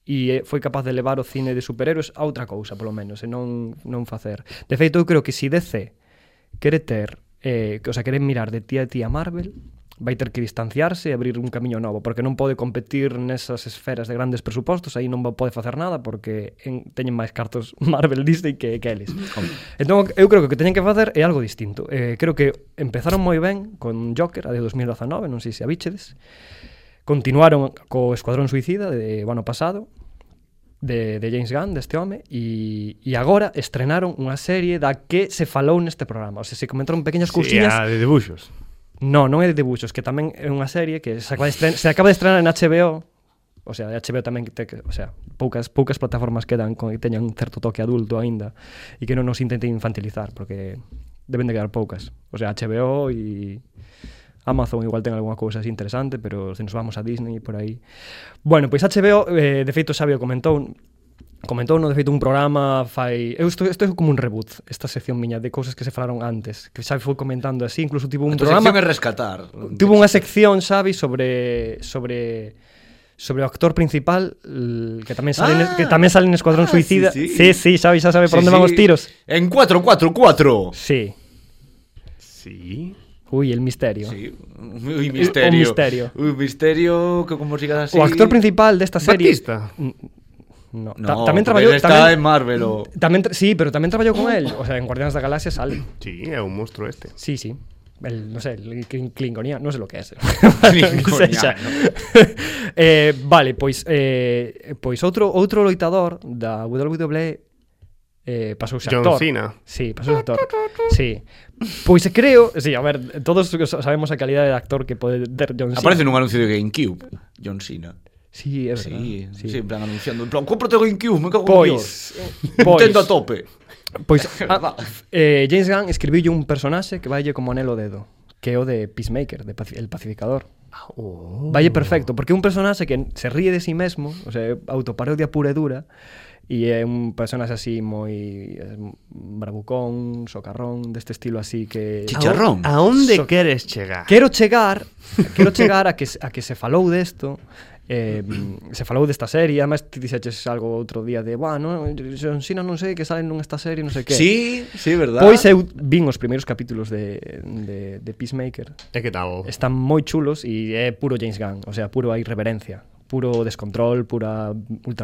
e eh, foi capaz de levar o cine de superhéroes a outra cousa, polo menos, e non non facer. De feito, eu creo que si DC quere ter, eh, que- o sea, quere mirar de tía a tía Marvel, vai ter que distanciarse e abrir un camiño novo, porque non pode competir nesas esferas de grandes presupostos, aí non va- pode facer nada porque en, teñen máis cartos Marvel Disney que, que eles. entón, eu creo que o que teñen que facer é algo distinto. Eh, creo que empezaron moi ben con Joker, a de 2019, non sei se a bichedes, continuaron co Escuadrón Suicida de o ano pasado, de, de James Gunn, deste home, e, e agora estrenaron unha serie da que se falou neste programa. O sea, se comentaron pequeñas
Sí, ah.
cousiñas...
a de debuxos.
No, non é de debuxos, que tamén é unha serie que se acaba de estrenar, se acaba de estrenar en HBO, o sea, HBO tamén que te, que- o sea, poucas poucas plataformas quedan con que teñan un certo toque adulto aínda e que non nos intenten infantilizar, porque deben de quedar poucas. O sea, HBO e Amazon igual ten algunha cousa así interesante, pero se nos vamos a Disney e por aí. Bueno, pois HBO, eh, de feito Xavi o comentou, comentou no de feito un programa fai eu isto, isto é como un reboot esta sección miña de cousas que se falaron antes que Xavi foi comentando así incluso tivo un
Un
programa
programa que rescatar.
Tuvo unha sección, Xavi, sobre sobre sobre o actor principal l- que tamén sale ah,
Ah,
que tamén sale en Escuadrón
ah, sí,
Suicida.
sí.
Sí, sí, Xavi xa sabe por onde van os tiros.
En 444.
Sí.
Sí.
Ui, el misterio.
Sí, un misterio.
Un misterio.
Un misterio que como sigas así.
O actor principal desta serie
Batista.
No,
No,
ta tamén
porque
traballou
él está
tamén,
en Marvel o-
tamén tra- sí, pero tamén traballou con el, o sea, en Guardianes da Galaxia sale.
Sí, é un monstruo este.
Sí, sí. El, no sé, el clin- clingoniano, non sei lo que é ese.
Clingoniano.
eh, vale, pois eh, pois outro outro loitador da WWE eh, pasou a
John
actor.
Cena.
Sí, pasou a actor. Sí. Pois creo, sí, a ver, todos sabemos a calidade de actor que pode ter John Cena.
Aparece nun anuncio de GameCube, John Cena.
Sí, é verdad.
Sí, sí, en plan anunciando, en plan, cómprate o GameCube, me cago en
Pois,
Dios.
pois,
Nintendo a tope.
Pois a, eh, James Gunn escribiu un personaxe que vaille como anelo dedo Que é o de Peacemaker, de paci- El Pacificador oh. Valle perfecto, porque é un personaxe que se ríe de si sí mesmo O sea, é autoparodia pura e dura E é un personaxe así moi eh, bravucón, socarrón, deste estilo así que...
Chicharrón.
A onde
So-
queres chegar?
Quero chegar, quero chegar a que se- a que se falou desto, eh, se falou desta serie, además ti dixeches algo outro día de, "Buah, non, John Cena non sei que salen nesta serie, non sei que".
Sí, sí, verdad.
Pois eu vin os primeiros capítulos de, de, de Peacemaker.
E que tal?
Están moi chulos e é puro James Gunn, o sea, puro a irreverencia puro descontrol, pura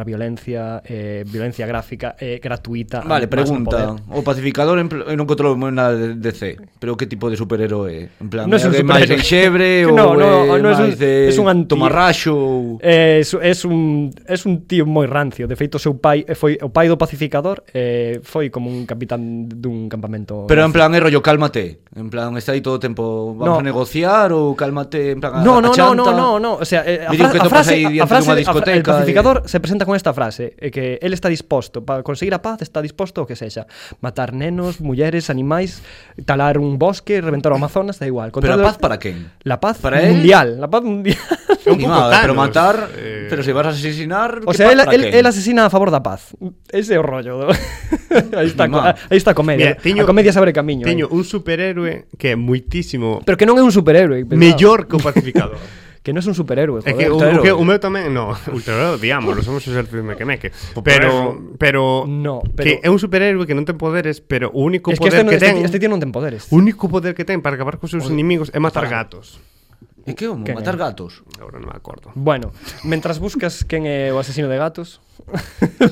ultraviolencia, eh, violencia gráfica, eh, gratuita.
Vale,
a más no
pregunta.
poder.
O pacificador en, pl- eu non controlo moi nada de DC, pero que tipo de superhéroe é? En plan,
Non é un
é máis
superhéroe.
enxebre
Que
ou
no, no,
é
no, es un-
máis de
es un anti-
tomarraxo ou...
Eh, es, es, un, es un tío moi rancio De feito, o seu pai eh, foi o pai do pacificador eh, Foi como un capitán dun campamento
Pero en plan é rollo cálmate En plan está aí todo o tempo Vamos
No.
a negociar ou cálmate en plan
No, no,
a, a
no,
chanta.
no, no, no, o sea, eh, a, fra-
Miren que
a
topas
frase,
aí
a
diante
frase a fra-
dunha
el
discoteca,
pacificador se presenta con esta frase, eh, que él está disposto para conseguir a paz, está disposto o que sexa, matar nenos, mulleres, animais, talar un bosque, reventar o Amazonas, da igual.
Pero a
Contra-
paz para quen?
La paz
Para él?
mundial, la paz mundial.
É un pouco
Ni nada, Pero
Thanos,
matar
eh.
Pero se vas a asesinar
O
que
sea,
paz
él,
para
él-
quen?
él asesina a favor da paz. Ese é o rollo. do- aí está a co-
Mamá.
aí está a comedia.
Mira, teño-
a comedia sobre ¿eh? camiño. aí.
Teño un superhéroe que é moitísimo
Pero que non é un superhéroe, pensaba.
mellor que o pacificador.
Que non é un superhéroe,
É que
joder.
o,
Ultrahéroe.
o, que, o meu tamén, no, ultrahéroe, diámoslo, somos os elfos de Mequemeque. Pero, pero,
No, pero-
que é un superhéroe que non ten poderes, pero o único
Es que este,
poder
no,
que
este,
ten,
ti- este tío non ten poderes.
o único poder que ten para acabar cos seus inimigos é matar gatos.
E que homo?
Que
Matar
non.
gatos?
Agora non me acordo.
Bueno, mentras buscas quen é o asesino de gatos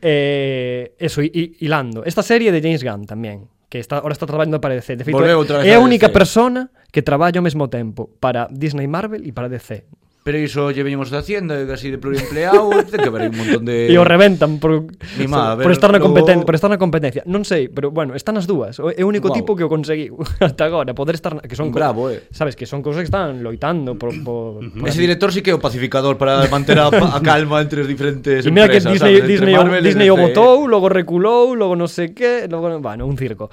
eh, Eso, hi- hi- hilando Esta serie de James Gunn tamén Que está, ahora está traballando para DC De feito,
Volveu outra vez
é, é a
a
única
DC.
persona que traballa ao mesmo tempo Para Disney Marvel e para DC
Pero iso lle veñemos da hacienda e casi de pluriempleado, ten que haber un montón de...
E o reventan por,
Mi má, Eh, a ver,
por, estar na
logo-
competen, por estar na competencia Non sei, pero bueno, están as dúas O- É o único
Guau.
tipo que o conseguiu Hasta agora, poder estar na, que son co-
Bravo, eh.
Sabes, que son cousas que están loitando por, por, por
Ese director sí que é o pacificador para manter a, a calma entre os diferentes
E mira que
empresas,
Disney,
sabes? Entre
Disney, o,
Marvel e
Disney o
DC.
botou, logo reculou, logo non sei que, logo, bueno, un circo.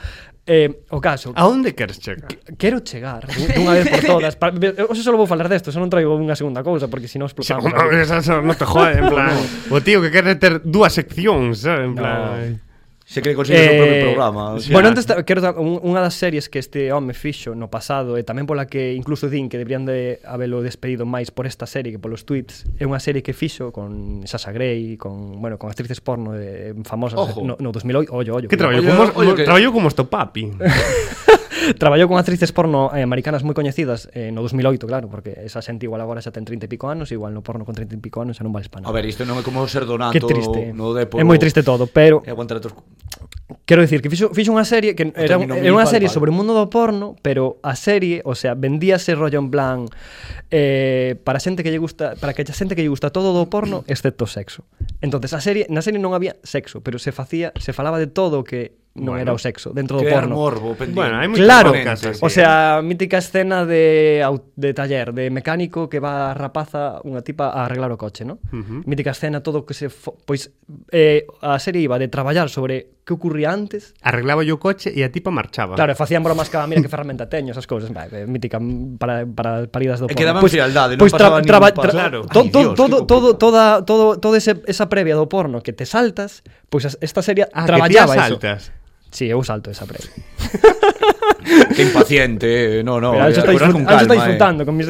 Eh, o caso,
A
Ah.
onde queres chegar?
quero chegar dunha vez por todas. Para, hoxe só vou falar desto, só non traigo unha segunda cousa porque
O
senón
sea,
explotamos.
no, esa- esa non te jode, en plan... o tío que quere ter dúas seccións, sabe? En plan...
Se cree que consigue o seu propio programa. o
Eh,
sea.
Bueno, antes ta- quero dar un- unha das series que este home fixo no pasado e tamén pola que incluso din que deberían de habelo despedido máis por esta serie que polos tweets. É unha serie que fixo con Sasha Grey, con, bueno, con actrices porno de, famosas
Ojo.
no, no 2008, ollo, ollo.
Que
cuidado.
traballou
Oye,
como,
oye, que-
traballou como esto papi.
Traballou con actrices porno eh, americanas moi coñecidas eh, no 2008, claro, porque esa xente igual agora xa ten 30 e pico anos, igual no porno con 30 e pico anos xa non vale para
A
nada.
ver, isto non é como ser donato
Que triste.
no Depor.
é moi triste todo, pero
E aguantar outros...
quero dicir que fixo, fixo unha serie que era, un-
término
era unha
municipal,
serie
vale.
sobre o mundo do porno, pero a serie, o sea, vendíase rollo en plan eh, para xente que lle gusta, para que a xente que lle gusta todo do porno excepto o sexo. Entonces, a serie, na serie non había sexo, pero se facía, se falaba de todo o que non
Bueno.
era o sexo dentro do
Que era
porno.
morbo, pendiente.
Bueno, hai moitas
Claro,
cosas así.
o sea, mítica escena de, au- de taller, de mecánico que va a rapaza, unha tipa a arreglar o coche, ¿no? Uh -huh. Mítica escena, todo que se... fo- Pois eh, a serie iba de traballar sobre que ocurría antes,
Arreglaba yo o coche e a tipa marchaba.
Claro, e facían bromas cada mira que ferramenta teño, esas cousas, vai, eh, mítica mm, para para paridas do
E
porno.
quedaban frialdade, non
pois
pasaba ningún paso.
Claro.
to-
Ai,
to-
Dios,
todo
que
todo
complicado.
toda todo todo ese esa previa do porno que te saltas, pois as- esta serie
Ah,
traballaba
que tías
eso.
altas.
Sí, eu salto esa previa.
Que impaciente, eh, no, no.
Pero Anxo
eh,
está,
curar
disfrut
con
Anxo está
calma, eh.
disfrutando con mis...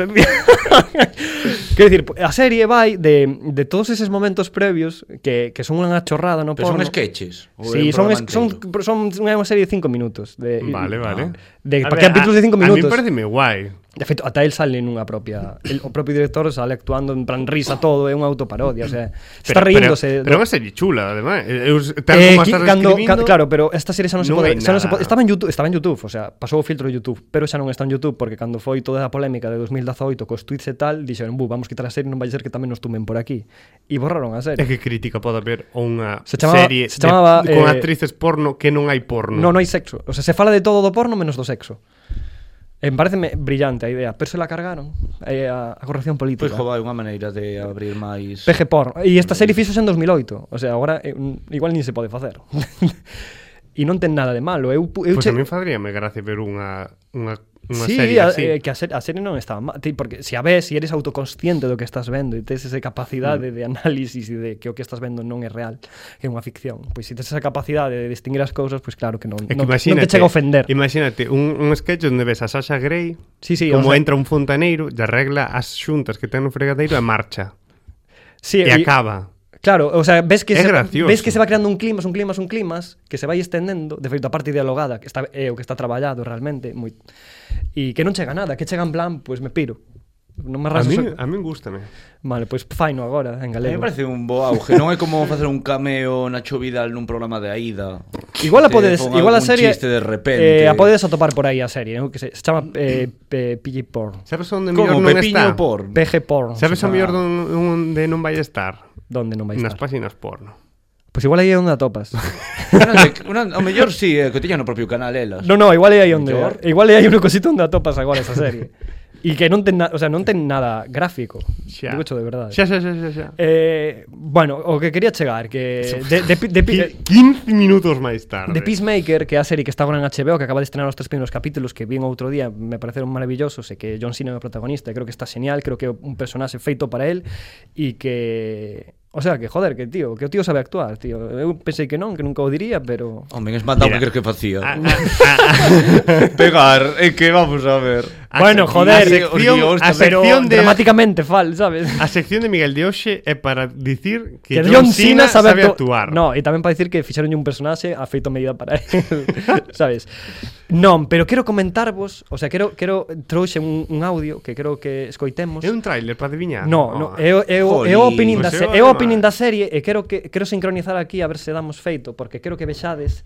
Quero dicir, a serie vai de, de todos eses momentos previos que, que son unha chorrada no
Pero son
porno.
sketches. ou é
Sí,
un
son,
programa
es, son,
enteiro?
son unha serie de 5 minutos. De,
Vale, vale.
De,
A
para
ver,
capítulos
a-
de 5
A mí
minutos.
pareceme guai.
De feito, ata el sale nunha propia... El, o propio director sale actuando en plan risa todo, é unha autoparodia, o sea, se está
Pero- Pero, pero
riéndose.
é
do-
unha serie chula, además. Eu,
Eh,
eh,
qui- cando, ca, claro, pero esta serie xa non se
non
pode,
hai
xa non se
nada.
pode, estaba en YouTube, estaba en YouTube, o sea, pasou o filtro de YouTube, pero xa non está en YouTube porque cando foi toda a polémica de 2018 cos tweets e tal, dixeron, "Bu, vamos quitar a serie, non vai ser que tamén nos tumen por aquí." E borraron a
É
serie.
que crítica pode haber a unha
Se chamaba-
serie
se chamaba,
de, con
eh,
actrices porno que non hai porno.
Non, non hai sexo. O sea, se fala de todo do porno menos do sexo. Eh, pareceme brillante a idea, pero se la cargaron eh, a, a corrección política.
Pois, jo, vai, unha maneira de abrir máis...
PG Porn. E esta serie fixose en 2008. O sea, agora eh, igual nin se pode facer. e non ten nada de malo. Eu, pu- eu
Pois
che-
Pues a min faríame gracia ver unha, unha, unha
sí,
serie
a,
así.
eh, que a, ser, a serie non estaba mal, ti, porque se a ves, se eres autoconsciente do que estás vendo e tes esa capacidade mm. de análisis e de que o que estás vendo non é real, que é unha ficción. Pois se tes esa capacidade de distinguir as cousas, pois claro que non,
É que
non, non
imagínate,
te chega a ofender.
Imagínate, un, un sketch onde ves a Sasha Grey
Sí, sí,
como
o sea-
entra un fontaneiro e arregla as xuntas que ten no fregadeiro e marcha.
Sí,
e acaba.
Claro, o sea, ves que,
É
se,
gracioso.
ves que se va creando un climas, un climas, un climas que se vai estendendo, de feito a parte dialogada, que está é o que está traballado realmente, moi e que non chega a nada, que chega en plan, pois pues, me piro. Non me
A
raso.
mí,
so-
a mí gustame.
Vale, pois pues, faino agora en
A mí
galego.
me parece un bo auge, non é como facer un cameo Nacho Vidal nun programa de Aida.
Igual a
Te
podedes,
pon
igual a
algún
serie
chiste de repente.
Eh, a podedes atopar por aí a serie, eh, que se, se chama eh, pe- PG Porn.
Sabes onde mellor
Como
non
Pepiño
está?
por.
PG Porn.
Sabes a
se chama.
mellor don- onde non vai estar?
Donde non vai
Nas
estar. Pois
páxinas porno.
pues igual aí é onde atopas.
Una, o mellor si, sí, eh, que teña no propio canal elas.
No, no, igual é aí onde.
Mellor.
Igual é aí un cosito onde atopas agora esa serie. E que non ten, na, o sea, non ten nada gráfico.
Xa.
Digo cho de verdade.
Xa, xa, xa, xa, xa.
Eh, bueno, o que quería chegar que de, de, pi- de, pi-
Qui- 15 minutos máis tarde.
de Peacemaker, que é a serie que está agora en HBO, que acaba de estrenar os tres primeiros capítulos que vin outro día, me pareceron maravillosos, e que John Cena é o protagonista, e creo que está genial, creo que é un personaxe feito para él e que O sea, que joder, que tío, que o tío sabe actuar, tío. Eu pensei que non, que nunca o diría, pero
Home, es mandado
Mira.
que crees que
Ah,
facía.
ah, ah, ah.
Pegar, é eh, que vamos a ver.
A sec-
Bueno, joder,
a sección,
Dios,
a
Pero
sección de
dramáticamente fal, sabes?
A sección de Miguel de Oxe é para dicir que,
Que John Cena sabe, actu-
actuar.
No, e tamén para dicir que fixeronlle un personaxe a feito a medida para él, sabes? Non, pero quero comentarvos, o sea, quero quero trouxe un, un audio que creo que escoitemos.
É un tráiler para Ah, adiviñar.
No, no, é o- é o é o
Ah, oh,
opening
Jolín.
da
Pois é o
serie, é o
tema,
opening
eh.
da serie e quero que quero sincronizar aquí a ver se damos feito porque quero que vexades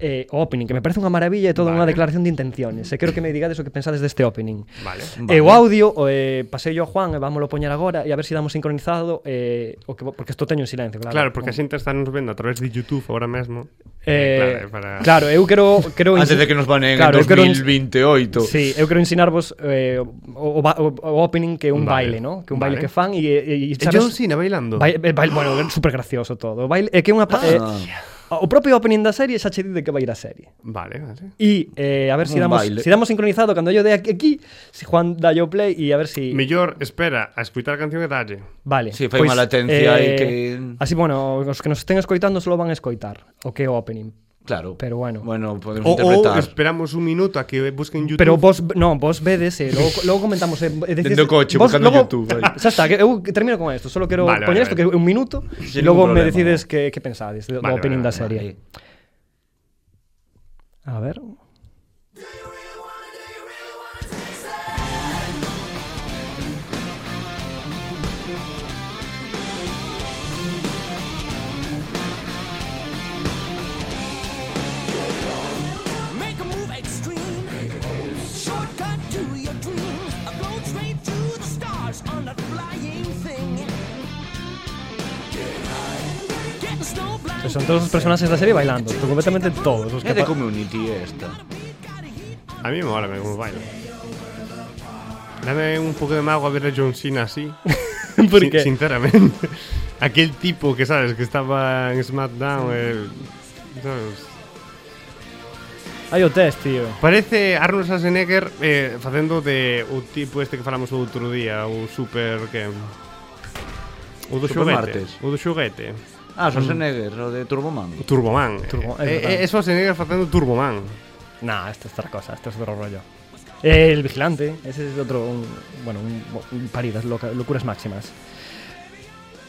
eh, o opening, que me parece unha maravilla e toda
Vale.
unha declaración de intenciones. E quero que me digades o que pensades deste opening.
Vale.
E o audio o, eh, pasei yo a Juan e vámoslo poñer agora e a ver se damos sincronizado eh, o que vo- porque isto teño en silencio, claro.
Claro, porque a xente está nos vendo a través de YouTube ahora mesmo.
Eh,
é para-
claro, eu quero quero
Antes
insi-
de que nos baneen
Claro,
en
eu quero ins-
2028.
Sí, eu quero ensinarvos eh, o, o, ba- o, o opening que é un
Vale.
baile, ¿no? Que un
Vale.
baile que fan e, e, e
É John Cena bailando.
Vai, vai, vai, eh, bueno, super gracioso todo. O Baile, é que é unha pa- eh, o propio opening da serie xa che di de que vai ir a serie.
Vale, vale.
E eh, a ver se
Un
damos,
baile.
si damos sincronizado cando yo de aquí, aquí si Juan da yo play e a ver si
Mellor espera a escutar a canción e dalle.
Vale. Pois, eh,
Sí, fai unha latencia aí que-
Así, bueno, os que nos estén escoitando solo van a escoitar o que é o opening.
Claro.
Pero bueno.
Bueno, podemos
O, ou
interpretar.
esperamos un minuto a que busquen YouTube.
Pero vos, non, vos vedes, eh, logo, logo comentamos eh, e decides-
Dentro do coche, buscando YouTube, aí.
Xa está, que eu termino con isto Solo quero
Vale,
vale, poñer
vale,
isto,
vale.
que é un minuto E
Sin
logo me
ningún problema.
decides que, que pensades Do
Vale,
vale, opening
vale,
da serie A ver
Make a move extreme. Shortcut to your dream. A blown straight to the stars on a flying thing. Getting snow blind.
pues Son todos os personaxes da serie bailando to- Completamente todos os
É
que
de
apa-
community esta.
A mí me mola como baila. Dame un pouco de mago a ver a John Cena así.
Por
Sin-
qué?
Sinceramente. Aquel tipo que, sabes, que estaba en SmackDown. eh, sabes,
Hai o test, tío
Parece Arnold Schwarzenegger eh, facendo de o tipo este que falamos o outro día, o super que o do
Super
xoguete,
Martes.
o do xoguete.
Mm.
Ah, Schwarzenegger, o de Turboman.
O Turboman.
Turbo- é
eh,
verdade.
eh, é Schwarzenegger facendo Turboman.
Nah, esto es otra cosa, esto es otro rollo Eh, El vigilante, ese es otro un, Bueno, un, un paridas, loca, locuras máximas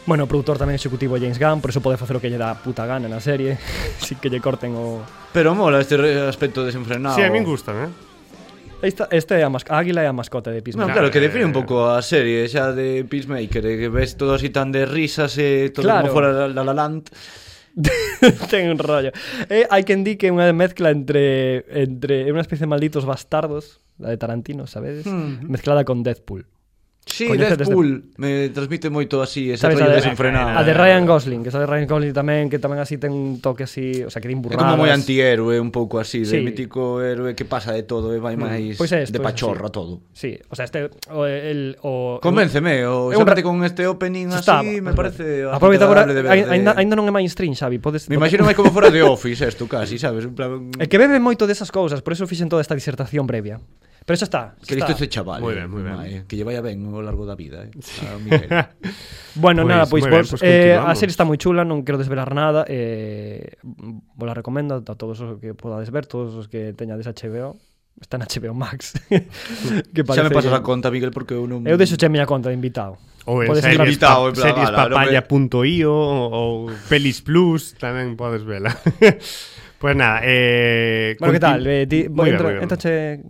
Bueno, o produtor tamén executivo é James Gunn, por eso pode facer o que lle dá a puta gana na serie, sin que lle corten o,
Pero mola este re- aspecto
Ah,
desenfrenado.
sí, a min gusta, eh.
Esta, esta é a, masc- a este águila é a mascota de
No,
Pismo.
claro, que define un pouco a serie xa de Peacemaker, eh, que ves todo así tan de risas e todo
Claro.
como fora la, la, la land.
Ten un rollo. Eh, hai quen di que é unha mezcla entre entre é unha especie de malditos bastardos, la de Tarantino, sabedes?
Hmm.
Mezclada con Deadpool.
Sí,
Coñece este desde-
Deadpool me transmite moito así ese
Sabes, a,
rollo
de,
desenfrenado.
a de Ryan Gosling, que esa de Ryan Gosling tamén, que tamén así ten un toque así, o sea, que din
É
burradas.
como moi antihéroe, un pouco así, de
Sí.
mítico héroe que pasa de todo e vai máis
Pois é,
de
pois é, sí.
pachorra todo.
Sí, o sea, este o, el, o
Convénceme, o
É un
xamate
ra-
con este opening así,
Estaba,
me
pues,
parece
Aproveita agora,
agradable de ver. eh,
ai- ainda, ainda non é mainstream, Xavi, podes
Me imagino máis como fora de Office isto casi, sabes? En plan,
É que bebe moito desas cousas, por eso fixen toda esta disertación previa. Pero xa está. xa
que listo
está.
este chaval.
Moi
eh,
ben, moi ben.
eh, Que lle vaya ben ao largo da vida, eh. A Miguel.
Bueno,
Pois,
nada, pois
moi ben,
vos,
pois
eh,
continuamos.
a serie está moi chula, non quero desvelar nada, eh, vos la recomendo a todos os que podades ver, todos os que teñades HBO, está en HBO Max. que
Xa me
parece
pasas
que-
a conta, Miguel, porque eu non
Eu deixo che a miña conta de invitado.
Ou en
Podes entrar-
series,
Invitado,
pa,
en plan,
series
ala,
papaya.io ou Pelis Plus, tamén podes vela. pues nada, eh...
Bueno, que
conti-
tal? Eh, ti,
Moi ben,
entra,
moi ben.
entra che...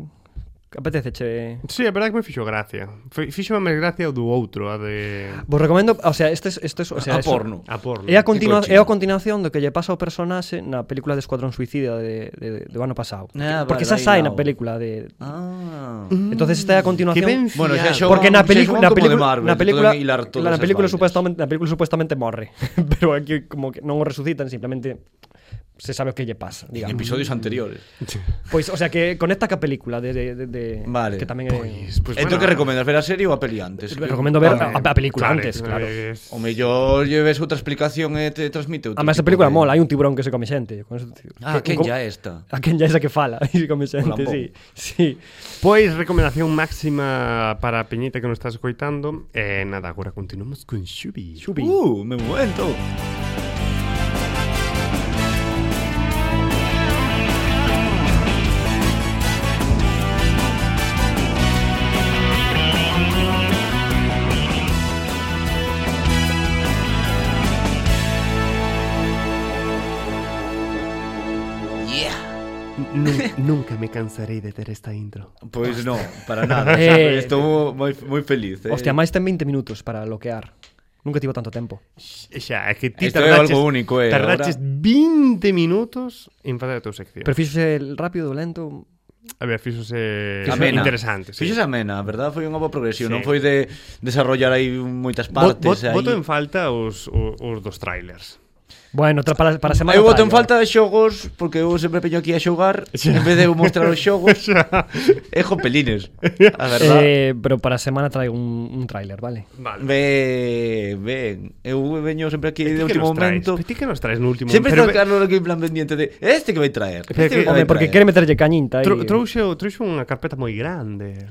Apetece che...
Sí, a verdade que me fixo gracia. Fixo máis gracia o do outro, a de...
Vos recomendo, o sea, este, es- este es, o sea, es-
a porno.
A porno.
É a, continua, é
cochino.
a continuación do que lle pasa ao personaxe na película de Escuadrón Suicida de, de, do ano pasado.
Ah,
Porque xa
vale,
sai
aí
na
lao.
película de...
Ah.
Entonces esta é a continuación...
ben
Bueno, xa
Fiado.
xogan,
Mm, Porque na película
xa
na
xogan como de
película
Marvel,
na película
poden hilar
la,
todas
na
as
película
vainas.
supuestamente na película supuestamente morre, pero aquí como que non o resucitan, simplemente se sabe o que lle pasa,
En
digamos.
episodios anteriores.
Pois, o sea, que conecta ca película de, de, de, de
Vale.
que tamén é
Pois, pois, Pues, bueno,
Entón Eh, que recomendas ver a serie ou a peli antes?
Re- recomendo ver
Home,
a, a película
claro,
antes, claro.
que es-
O mellor lleves outra explicación e te
Eh,
transmite outro.
Además, esta Ah,
tipo
película
de-
mola, hai un tiburón que se come xente, con eso, tío.
Ah,
Que-
quen
un-
ya esta?
A quen ya esa que fala e se come xente,
lambón.
sí. Sí.
Pois Pues, recomendación máxima para a Peñita que nos estás coitando E eh, nada, agora continuamos con Xubi
Xubi.
Uh, me momento.
nunca me cansarei de ter esta intro.
Pois non, para nada.
Eh,
Estou moi, moi feliz. Eh.
Hostia, máis ten 20 minutos para bloquear. Nunca tivo tanto tempo.
Xa, é que ti
Isto é
tardaches,
algo único, eh,
tardaches
ahora.
20 minutos en facer a tua sección.
Pero fíxose rápido, lento...
A ver, fíxose
Amena.
interesante. Sí.
Fíxose amena, a verdade foi unha boa progresión,
Sí.
non foi de desarrollar aí moitas
Bo-
partes
bo-
aí.
Boto en falta os, os, os dos trailers.
Bueno, tra- para, para a semana
Eu boto en
traio.
falta de xogos porque eu sempre peño aquí a xogar en vez de eu mostrar os xogos é jopelines. A verdade.
Eh, pero para a semana traigo un, un tráiler, vale?
Vale.
Ben, ben. Eu veño sempre aquí
Ti
de
que nos
último
traes?
momento.
Pero Ti que nos traes no último
Sempre
momento?
está Carlos aquí en plan pendiente de este que vai traer.
Pero que-
Este vai
Home, porque quere
traer".
meterlle cañinta aí.
Tro, trouxo, trouxo unha carpeta moi grande.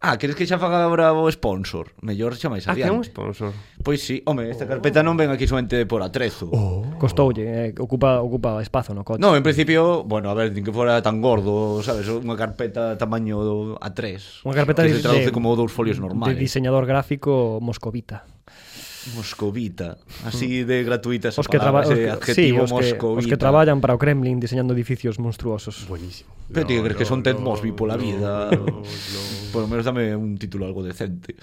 Ah, queres que xa faga agora o sponsor? Mellor xa máis
Ah, que é un
adiante.
sponsor.
Pois sí, home, esta carpeta non ven aquí somente por atrezo.
Costoulle, eh, ocupa, ocupa espazo no coche.
No, en principio, bueno, a ver, nin que fora tan gordo, sabes, unha carpeta tamaño A3.
Unha carpeta
que
de-
se traduce
de-
como dous folios
de
normales.
diseñador gráfico moscovita.
Moscovita, así de gratuita esa
Os que, traba...
palabra,
os,
ese
que, sí,
adjetivo
os, que, os que
moscovita.
traballan para o Kremlin diseñando edificios monstruosos.
Buenísimo.
Pero ti que crees que son Ted Mosby pola vida?
no, no.
Por lo menos dame un título algo decente.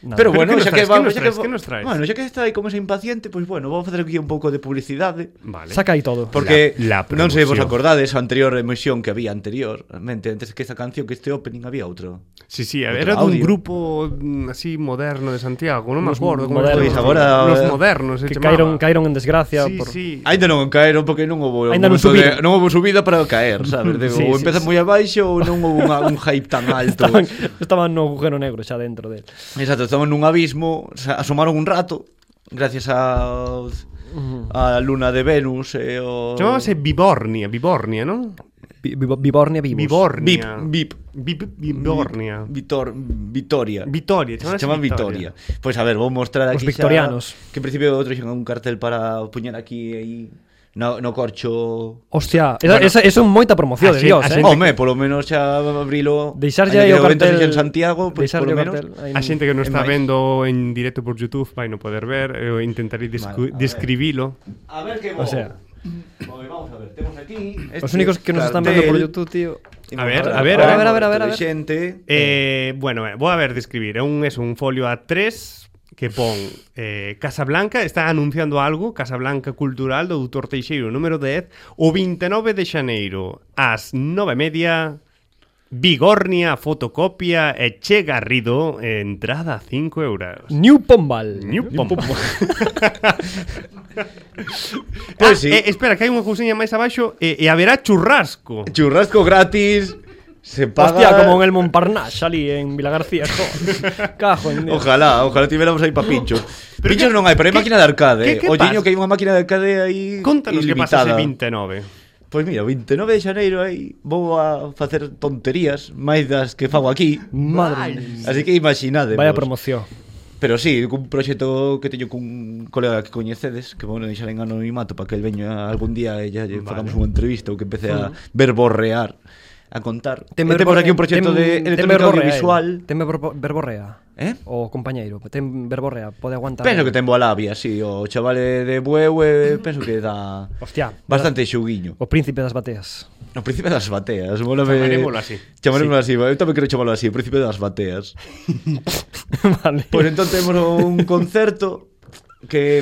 Nada.
Pero
Pero
bueno,
que nos
xa
traes, que nos
que vamos, xa
traes,
que
que nos traes?
Bueno, xa que está aí como ese impaciente, pois pues bueno, vou facer aquí un pouco de publicidade.
Vale.
Saca aí todo.
Porque
La- la
non sei vos
promoción.
acordades a anterior emisión que había anteriormente, antes que esta canción, que este opening había outro.
Sí, sí, a
Otro
ver, era dun
audio.
grupo mm, así moderno de Santiago, non me
Los
acordo como
modernos.
se chama.
Pois agora,
Los
eh,
modernos, se
que
chamaba.
caíron, caíron en desgracia
Sí,
por...
sí.
Ainda non caeron porque non houve
Ainda non
momento
subiron.
de- non houve subida para caer, sabes? De,
Sí,
ou
sí, sí.
empeza moi abaixo ou non houve unha, un hype tan alto.
Estaban, estaban no agujero negro xa dentro del.
Exacto, estaban nun abismo, sa- asomaron un rato gracias a a luna de Venus e o
Chamábase Bibornia, Bibornia, non?
Vi- vi- Vibornia vivos.
Vip,
Bibornia.
Vip,
Bib, Bibornia.
Vitor, Vitoria.
Vitoria,
Se
chamábase
chama Vitoria. Pois a ver, vou mostrar
Os
aquí xa-
victorianos.
que en principio outro xen un cartel para puñar aquí aí no, no corcho
Hostia, esa, esa, esa é moita promoción, de
Así-
Dios,
así- Gente
eh.
Home, polo menos xa abrilo
Deixarlle
Ainda
aí o
que de momento
cartel-
sexa en Santiago, pois
deixarlle o
polo menos
cartel aí
A xente que non
É
está
máis.
vendo en directo por YouTube vai non poder ver, eu intentarei descu-
Vale, a ver.
describilo.
A ver que
O sea.
Oye, vamos a ver, temos aquí
Os únicos que nos están vendo por YouTube, tío.
A ver, a ver, a
ver, a ver, a ver, a ver.
Xente.
Eh, bueno, eh, vou a ver describir. É un, es un folio A3 que pon eh, Casablanca está anunciando algo, Casablanca Cultural do Doutor Teixeiro número 10 o 29 de xaneiro ás 9 media Bigornia, fotocopia e Che Garrido, eh, entrada a 5 euros.
New Pombal.
New Pombo.
Pois
Ah,
sí.
eh, espera, que hai unha cousiña máis abaixo e, e haberá churrasco.
Eh,
Churrasco gratis. Se paga.
Hostia, como en el Montparnasse, ali en Vila García. joder. Cajo en Dios.
Ojalá, ojalá tivéramos aí pa pinchos. pinchos non hai, pero hai máquina de arcade.
que- que
Olliño
pasa?
que hai unha máquina de arcade aí
Contanos que pasa ese
ilimitada.
29.
Pois mira, o 29 de xaneiro aí vou a facer tonterías máis das que fago aquí.
Madre mía.
Así que imaginade.
Vaya promoción.
Pero sí, cun proxecto que teño cun colega que coñecedes Que vou deixar en anonimato para que el veña algún día E ya lle
Vale.
facamos unha entrevista ou que empece
Mm.
a verborrear A contar E
Teme
Eh, Temos
verborrea-
aquí un proxecto
tem-
de
tem
electrónica
verborrea eh.
audiovisual
el. Tem verbo- verborrea.
Eh?
O compañeiro, ten verborrea, pode aguantar.
Penso que ten boa labia, sí O chaval é de Bueu e penso que dá
Mm. Hostia. Oh.
bastante xuguiño
O príncipe das bateas.
O príncipe das bateas molame...
Chamarémolo así.
Chamarémolo así, eu tamén quero chamalo así O príncipe das bateas
vale.
Pois entón temos un concerto que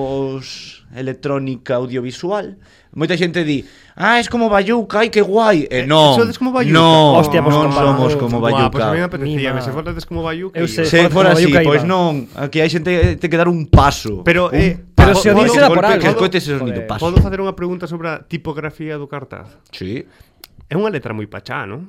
facemos electrónica audiovisual. Moita xente di, ah, es como Bayuca, ai que guai. E eh, non,
Sodes como Bayuca.
non,
Hostia, pois
non
comparado.
somos como
Buah, Pois a mí me
Bayuca.
apetecía,
Mima.
se faltades como Bayuca.
Eu
y-
sei.
Se
Joder,
fora
como
así,
Bayuca
pois
iba.
non, aquí hai xente que ten que dar un paso.
Pero,
un
eh,
pero se o
un
dixo era por algo.
golpe Que escoite ese sonido,
Joder.
paso.
Podo facer unha pregunta sobre a tipografía do cartaz?
Sí.
É unha letra moi pachá, non?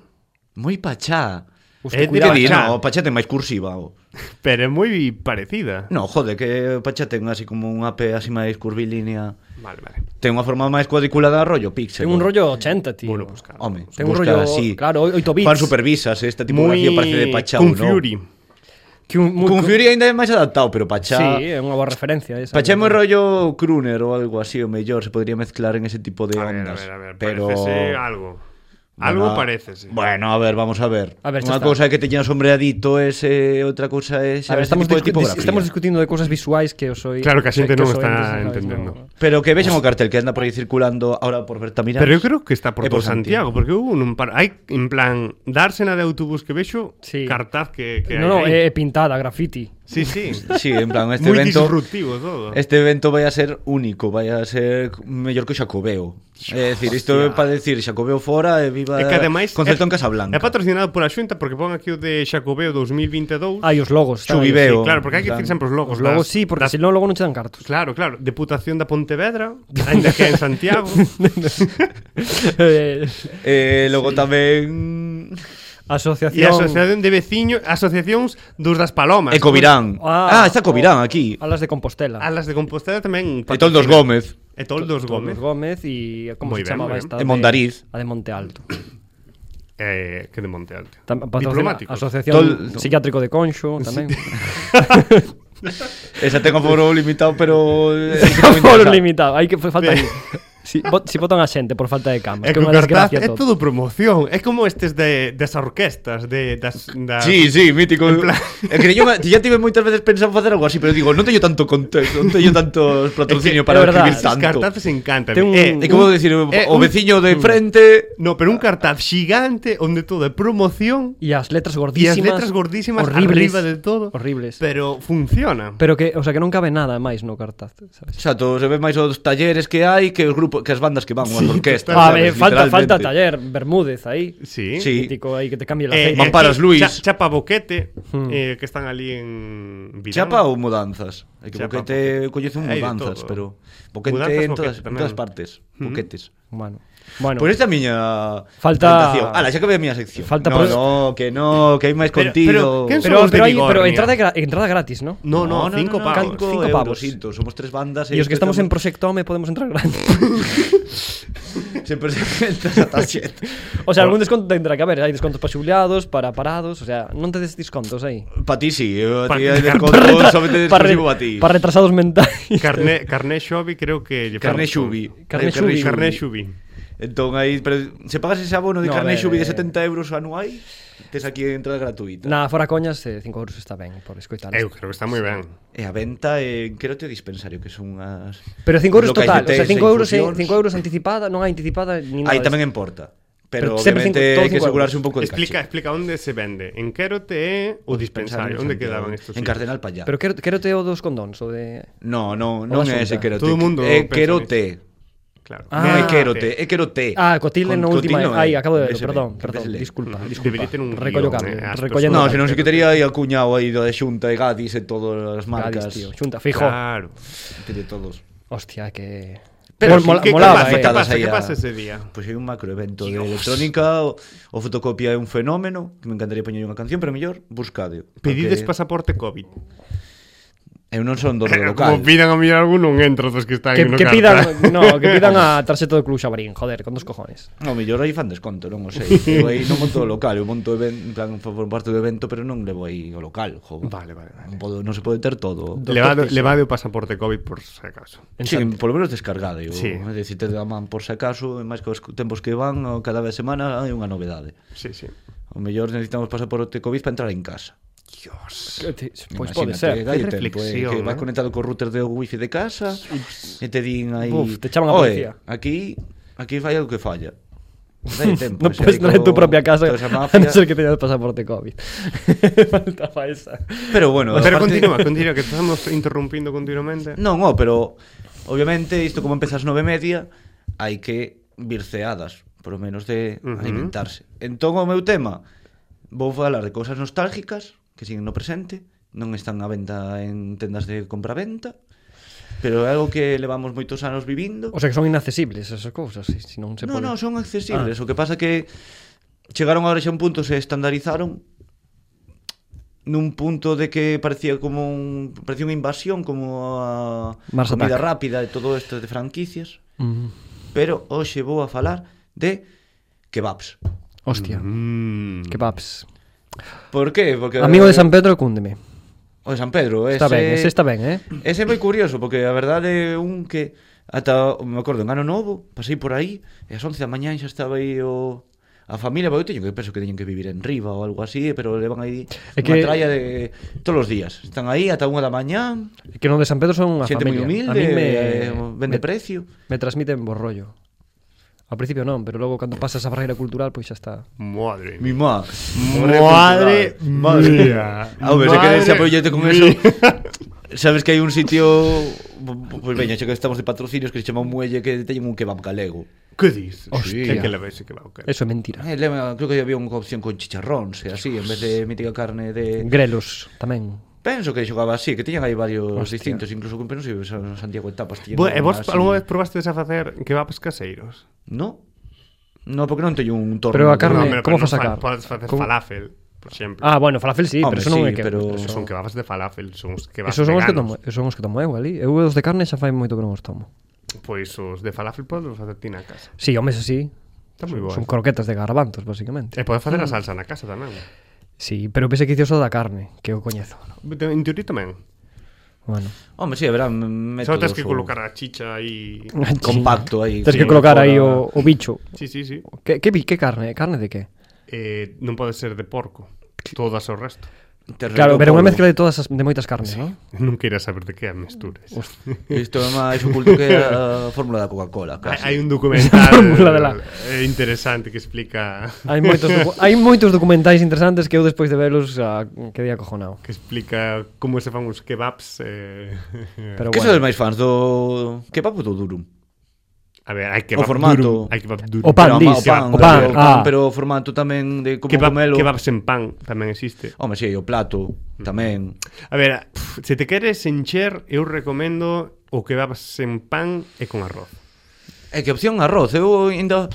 Moi pachá.
Hostia,
Eh,
cuidado,
que di,
pachá.
no, pachá ten máis cursiva. o.
Pero é moi parecida.
No, jode, que pachá ten así como un ape así máis curvilínea.
Vale, vale.
Ten unha forma máis cuadriculada, rollo pixel.
Ten un rollo 80, tío.
Bueno, pues claro.
Home,
Ten un
busca
rollo,
así.
claro, oito bits.
Juan supervisas esta tipografía
moi
parece de Pachá
Kung
ou non.
Fury.
que un, muy-
Kung Fury ainda é máis adaptado, pero Pachá...
Sí, é unha boa referencia esa.
Pachá é moi rollo crooner ou algo así, o mellor, se podría mezclar en ese tipo de
A ver, a
ondas.
ver, a ver,
pero...
parecese algo. Algo
Bueno,
parece, sí.
Bueno, a ver, vamos a ver.
A ver, xa
Unha
está.
cousa é que teña sombreadito eh, ese, outra cousa
A
é xa
ver,
ese
estamos,
tipo de
discu- dis-
tipografía.
estamos discutindo de cousas visuais que os oi...
Claro, que a xente non
os
está
ointes sabes,
entendendo.
non-
Pero que vexen o cartel que anda por aí circulando ahora por Bertamiráns.
Pero eu creo que está por
É
todo Santiago, porque eu non par... hai en plan dársena de autobús que vexo,
Sí. eh,
cartaz que que
Non, non,
hai. aí.
é pintada, graffiti.
Sí, sí.
Sí, en plan, este
Moi
evento...
disruptivo todo.
Este evento vai a ser único, vai a ser mellor que o Xacobeo. É dicir, isto é
Hostia.
para decir Xacobeo fora e viva
É que ademais
Concerto
é-
en Eh, Casablanca.
É patrocinado pola Xunta porque pon aquí o de Xacobeo 2022.
Hai os logos. están aí.
Xubibé. Xubibeo,
Sí, claro, porque hai que
en
dicir
plan,
sempre os logos.
Os logos
das-
sí, porque
das-
se non logo non che dan cartos.
Claro, claro, Deputación da Pontevedra, ainda que é en Santiago.
Eh,
Eh, logo tamén
E
asociación...
a Asociación de Veciños, Asociacións dos das Palomas.
Ecovirán. Ah, está
o-
Ecovirán aquí.
Alas de Compostela.
A las de Compostela tamén.
E Toldos Gómez.
E Toldos Gómez.
Gómez. Gómez e como
Moi
se
ben,
chamaba
moi ben.
esta?
E
de-
Mondariz.
A de Monte Alto.
Eh, que de Monte Alto.
Tam-
Diplomáticos.
Asociación
Tol-
Psiquiátrico de Conxo tamén.
Esa ten o foro limitado, pero eh,
Foros limitado, hai que falta
Sí.
aí. Si, bot, si botan a xente por falta de camas,
É que
que é
o
unha
cartaz
desgracia
é
todo.
todo promoción, é como estes de das orquestas de das da
Sí, sí, mítico.
En plan-
É que yo ya tive moitas veces pensado facer algo así, pero digo, non teño tanto contexto, non teño tantos
é
patrocinios para
verdad,
Os
escribir tanto.
cartazes Eh, encantan.
Ten un-
É como decir, o,
é un- Mm.
o veciño de frente
No, pero un cartaz xigante onde todo é promoción
E as letras
e as
gordísimas.
letras gordísimas
horribles,
arriba de todo.
Horribles.
Pero funciona.
Pero que, o sea, que non cabe nada máis no cartaz, sabes?
Exacto, se ve máis os talleres que hai que os grupos, que as bandas que van, sí, as orquestas.
A
sabes,
ver, Ah, falta,
literalmente.
falta taller, Bermúdez aí.
Sí.
Sí.
Mítico aí que te cambie la
Eh,
aceite.
eh,
Mamparas
aquí,
Luis.
Cha- Chapa Boquete,
Hmm.
eh, que están ali en Vidal.
Chapa ou mudanzas? É que
Chapa,
Boquete
Boquete.
coñece un
Hai de
mudanzas,
todo.
pero Boquete
Mudanzas,
en todas,
Boquete
en
tamén.
todas partes, Boquetes.
Bueno. Bueno.
Por esta miña
Falta-
presentación. Ala, xa que ve a miña sección.
Falta
no,
pro-
no, que no, que hai máis
Pero- pero,
contido.
¿quen son
pero,
los de
pero, hai-
Bigornia.
pero entrada, gra- entrada gratis, ¿no?
No, no, cinco pavos.
Cinco
Cinco
pavos.
pavos. Eurositos. Somos tres bandas.
E os que estamos en
sempre
Proxecto Home podemos entrar gratis.
se presentas ata sete.
o sea, algún desconto tendrá que haber. Hai descontos para xubilados, para parados, o sea, non tedes descontos aí.
Pa ti sí, eu a ti
Pa-
hai
pa-
desconto somente
para, re-
exclusivo pa ti.
para retrasados mentais.
Carné, Carné Xobi creo que lle
Carné
fan-
Xubi.
Carné
Eh,
Xubi.
Carné Xubi.
Entón aí, pero se pagas ese abono de
No, a
no,
ver,
carne xubi de
eh.
70 euros anuais, tes aquí entrada gratuita.
Na, fora coñas, 5 euros está ben por escoitar.
Eu creo que está moi ben.
E a venta en creo que o dispensario que son as
Pero 5 euros
locais
total, o
de
sea,
tés e
5 euros,
infusións.
5 euros anticipada, non hai anticipada ni nada.
Aí tamén
disto.
en porta. Pero,
Pero
pero
sempre
obviamente
cinco- todo
hai que
cinco
asegurarse un
euros.
pouco de
Explica,
caché.
explica onde se vende. En Quérote é o dispensario, onde quedaban estos.
En
sitios?
Cardenal Pallá.
Pero quero, quero teo dos condóns o de...
No, no,
O
non
da
é ese
Xunta.
querote.
Todo o mundo
é
pensa
querote.
Claro.
Ah.
non é
Ah,
querote, é querote.
Ah, cotilde
Con-
na última.
cotil non é.
Ai, acabo de verlo,
Ese
perdón,
ben,
perdón,
ese ben.
disculpa,
Debería
disculpa.
ter un
Recollo
guión,
cambio,
eh, as
recollendo
personas.
No, se non se quitaría aí acuñado aí da Xunta e Gadis e todas as
Gadis,
marcas.
tío, xunta, fijo.
Claro.
De todos.
Hostia, que... Mol-
Pero sí,
mola-
¿Qué,
molaba,
pasa,
eh.
¿qué, pasa,
Ahí
¿Qué
a-
pasa ese día?
Pois hai un macroevento de electrónica, o, o fotocopia é un fenómeno, que me encantaría poñer unha canción, pero mellor buscade.
Pedides
porque
pasaporte COVID.
Eu non son dono do local.
Como pidan a mirar algún, non entro dos que están
Que,
no
que
carta.
pidan, no, que pidan a tarxeta do Club Xabarín, joder, con dos cojones.
No, mellor aí fan desconto, non o sei. Eu aí non monto o local, eu monto even, en plan, formo parte do evento, pero non levo aí o local, jo.
Vale, vale, vale.
Non, podo, non se pode ter todo.
Levado, levado o pasaporte COVID por si acaso.
En
Sí,
San-
polo menos descargade o,
Sí.
sí. É dicir, te da man por se acaso E máis que os tempos que van o Cada vez semana hai unha novedade
Sí, sí.
O mellor necesitamos pasaporte COVID para entrar en casa
Dios.
Que te- Pois pode Pues ser.
hai
Que
tempo, eh,
reflexión,
que vas
eh.
conectado co router do wifi de casa e te din aí
Uf, te chaman a
"Oe,
policía."
aquí aquí fai algo que falla Dai tempo,
No
ese
puedes traer
rico-
tu propia casa
toda esa
a
mafia.
no ser que teñas pasaporte COVID. Faltaba esa.
Pero bueno,
Pero
aparte-
continúa, continúa, que estamos interrumpindo continuamente.
Non, oh, pero obviamente isto como empezas nove e media hai que vir ceadas, por lo menos de
Ujú.
alimentarse. Entón o meu tema vou falar de cousas nostálgicas que siguen no presente, non están á venda en tendas de compraventa, pero é algo que levamos moitos anos vivindo.
O sea que son inaccesibles esas cousas, si, si non se
No,
pode.
no, son accesibles. Ah. O que pasa que chegaron agora xa a un punto se estandarizaron nun punto de que parecía como un, parecía unha invasión como a
Mars
comida
Attack.
rápida e todo isto de franquicias,
Mm,
pero hoxe vou a falar de kebabs.
hostia,
Mm.
kebabs.
Por que? Porque
Amigo de San Pedro, cúndeme.
o de San Pedro, ese
Está ben, ese está ben, eh?
Ese é moi curioso, porque a verdade é un que ata, me acordo, en ano novo, pasei por aí, e ás 11 da mañá xa estaba aí o, a a familia, porque eu teño que penso que teñen que vivir en Riva ou algo así, pero levan aí
É
é
que-
que... tralla de todos os días. Están aí ata unha da mañá,
Que non de San Pedro son unha
xente moi
familia.
humilde,
a mí me,
eh, vende
me,
precio.
me transmiten bo rollo. Ao principio non, pero logo cando pasas a barreira cultural, pois xa está.
Madre
Mi
mía.
má.
Madre mía.
A ver,
Madre
se queres apoyarte con
mía.
eso. Sabes que hai un sitio Pois pues veña, xa que estamos de patrocinios Que se chama un muelle que teñen un kebab galego
Que dices?
Hostia.
Que la ves que va a caer.
Eso é mentira.
eh, leva, Creo que había unha opción con chicharróns E así, en vez de mítica carne de...
Grelos tamén.
Penso que xogaba así Que teñan aí varios
Hostia.
Hostia. distintos Incluso con penso que San Santiago de Tapas tiñen
Bo, e vos
así.
algunha vez probastes a facer kebabs caseiros?
No No, porque non teño un torno
Pero a
No,
carne-
hombre,
como
pero non
fas a
fa-
carne?
Podes facer
Como-
falafel, por exemplo.
Ah, bueno, falafel sí,
Home,
pero eso non
sí,
é que...
pero
Pero
eso-
son kebabs de falafel, son os kebabs
Esos son os que tomo,
veganos.
esos son os que tomo eu ali. Eu os de carne xa fai moito que non os tomo.
Pois os de falafel podes facer ti na casa.
Sí, home, eso sí. Eh,
Está moi boa.
Son croquetas de garbanzos, basicamente.
E podes facer
Mm.
a salsa na casa tamén.
Sí, pero pensei que dicioso da carne, que eu coñezo.
En teoría tamén.
Bueno.
Home, si, sí, haberá métodos
Só tens que
ou-
colocar a chicha aí...
Compacto aí,
Tens que
sí,
colocar aí
fora.
o, o bicho.
Sí, sí, sí.
Que, que, bi- que carne? Carne de que?
Eh, non pode ser de porco. Todas o resto.
Terreno
Claro, pero unha
polvo.
mezcla de todas as, de moitas carnes, sí. non?
Non queiras saber de que a misturas.
Isto é máis oculto que a fórmula da Coca-Cola
Hai,
casi.
hai un
Fórmula de la-
documental eh, interesante que explica
Hai moitos, docu- hai moitos documentais interesantes que eu despois de velos a, quedei acojonado.
que explica como se fan os kebabs eh,
Pero
Que
bueno.
sodes máis fans do kebab ou do durum?
a ver, hai kebab
O formato.
duro, hai kebab duro.
O pan,
Pero, ama,
dis.
o pan,
O pan,
o pan
ah.
pero o formato tamén de como
Kebab,
comelo.
kebabs en pan tamén existe.
Home, si, o plato
Mm.
tamén.
A ver, pff, se te queres encher, eu recomendo o kebabs en pan e con arroz.
É que opción arroz, eu ainda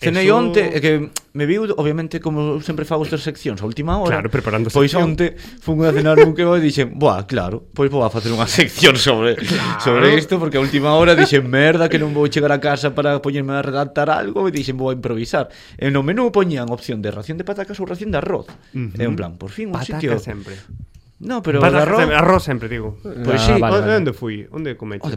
cenei
Eso-
onte, é que me viu, obviamente, como eu sempre fago estas seccións a última hora.
Claro, preparando
Pois
sección.
onte fun a cenar un kebab e dixen, "Buah, claro, pois vou a facer unha sección sobre claro. sobre isto porque a última hora dixen, "Merda, que non vou chegar a casa para poñerme a redactar algo", e dixen, "Vou a improvisar". E no menú poñían opción de ración de patacas ou ración de arroz. Uh -huh. E un plan, por fin un
Pataca
sitio.
sempre.
No, pero
Pero
de
Pataca
arroz,
sempre, arroz sempre, digo. Ah,
Pois sí,
vale,
Onde-
vale.
Onde fui? Onde comeches?
o de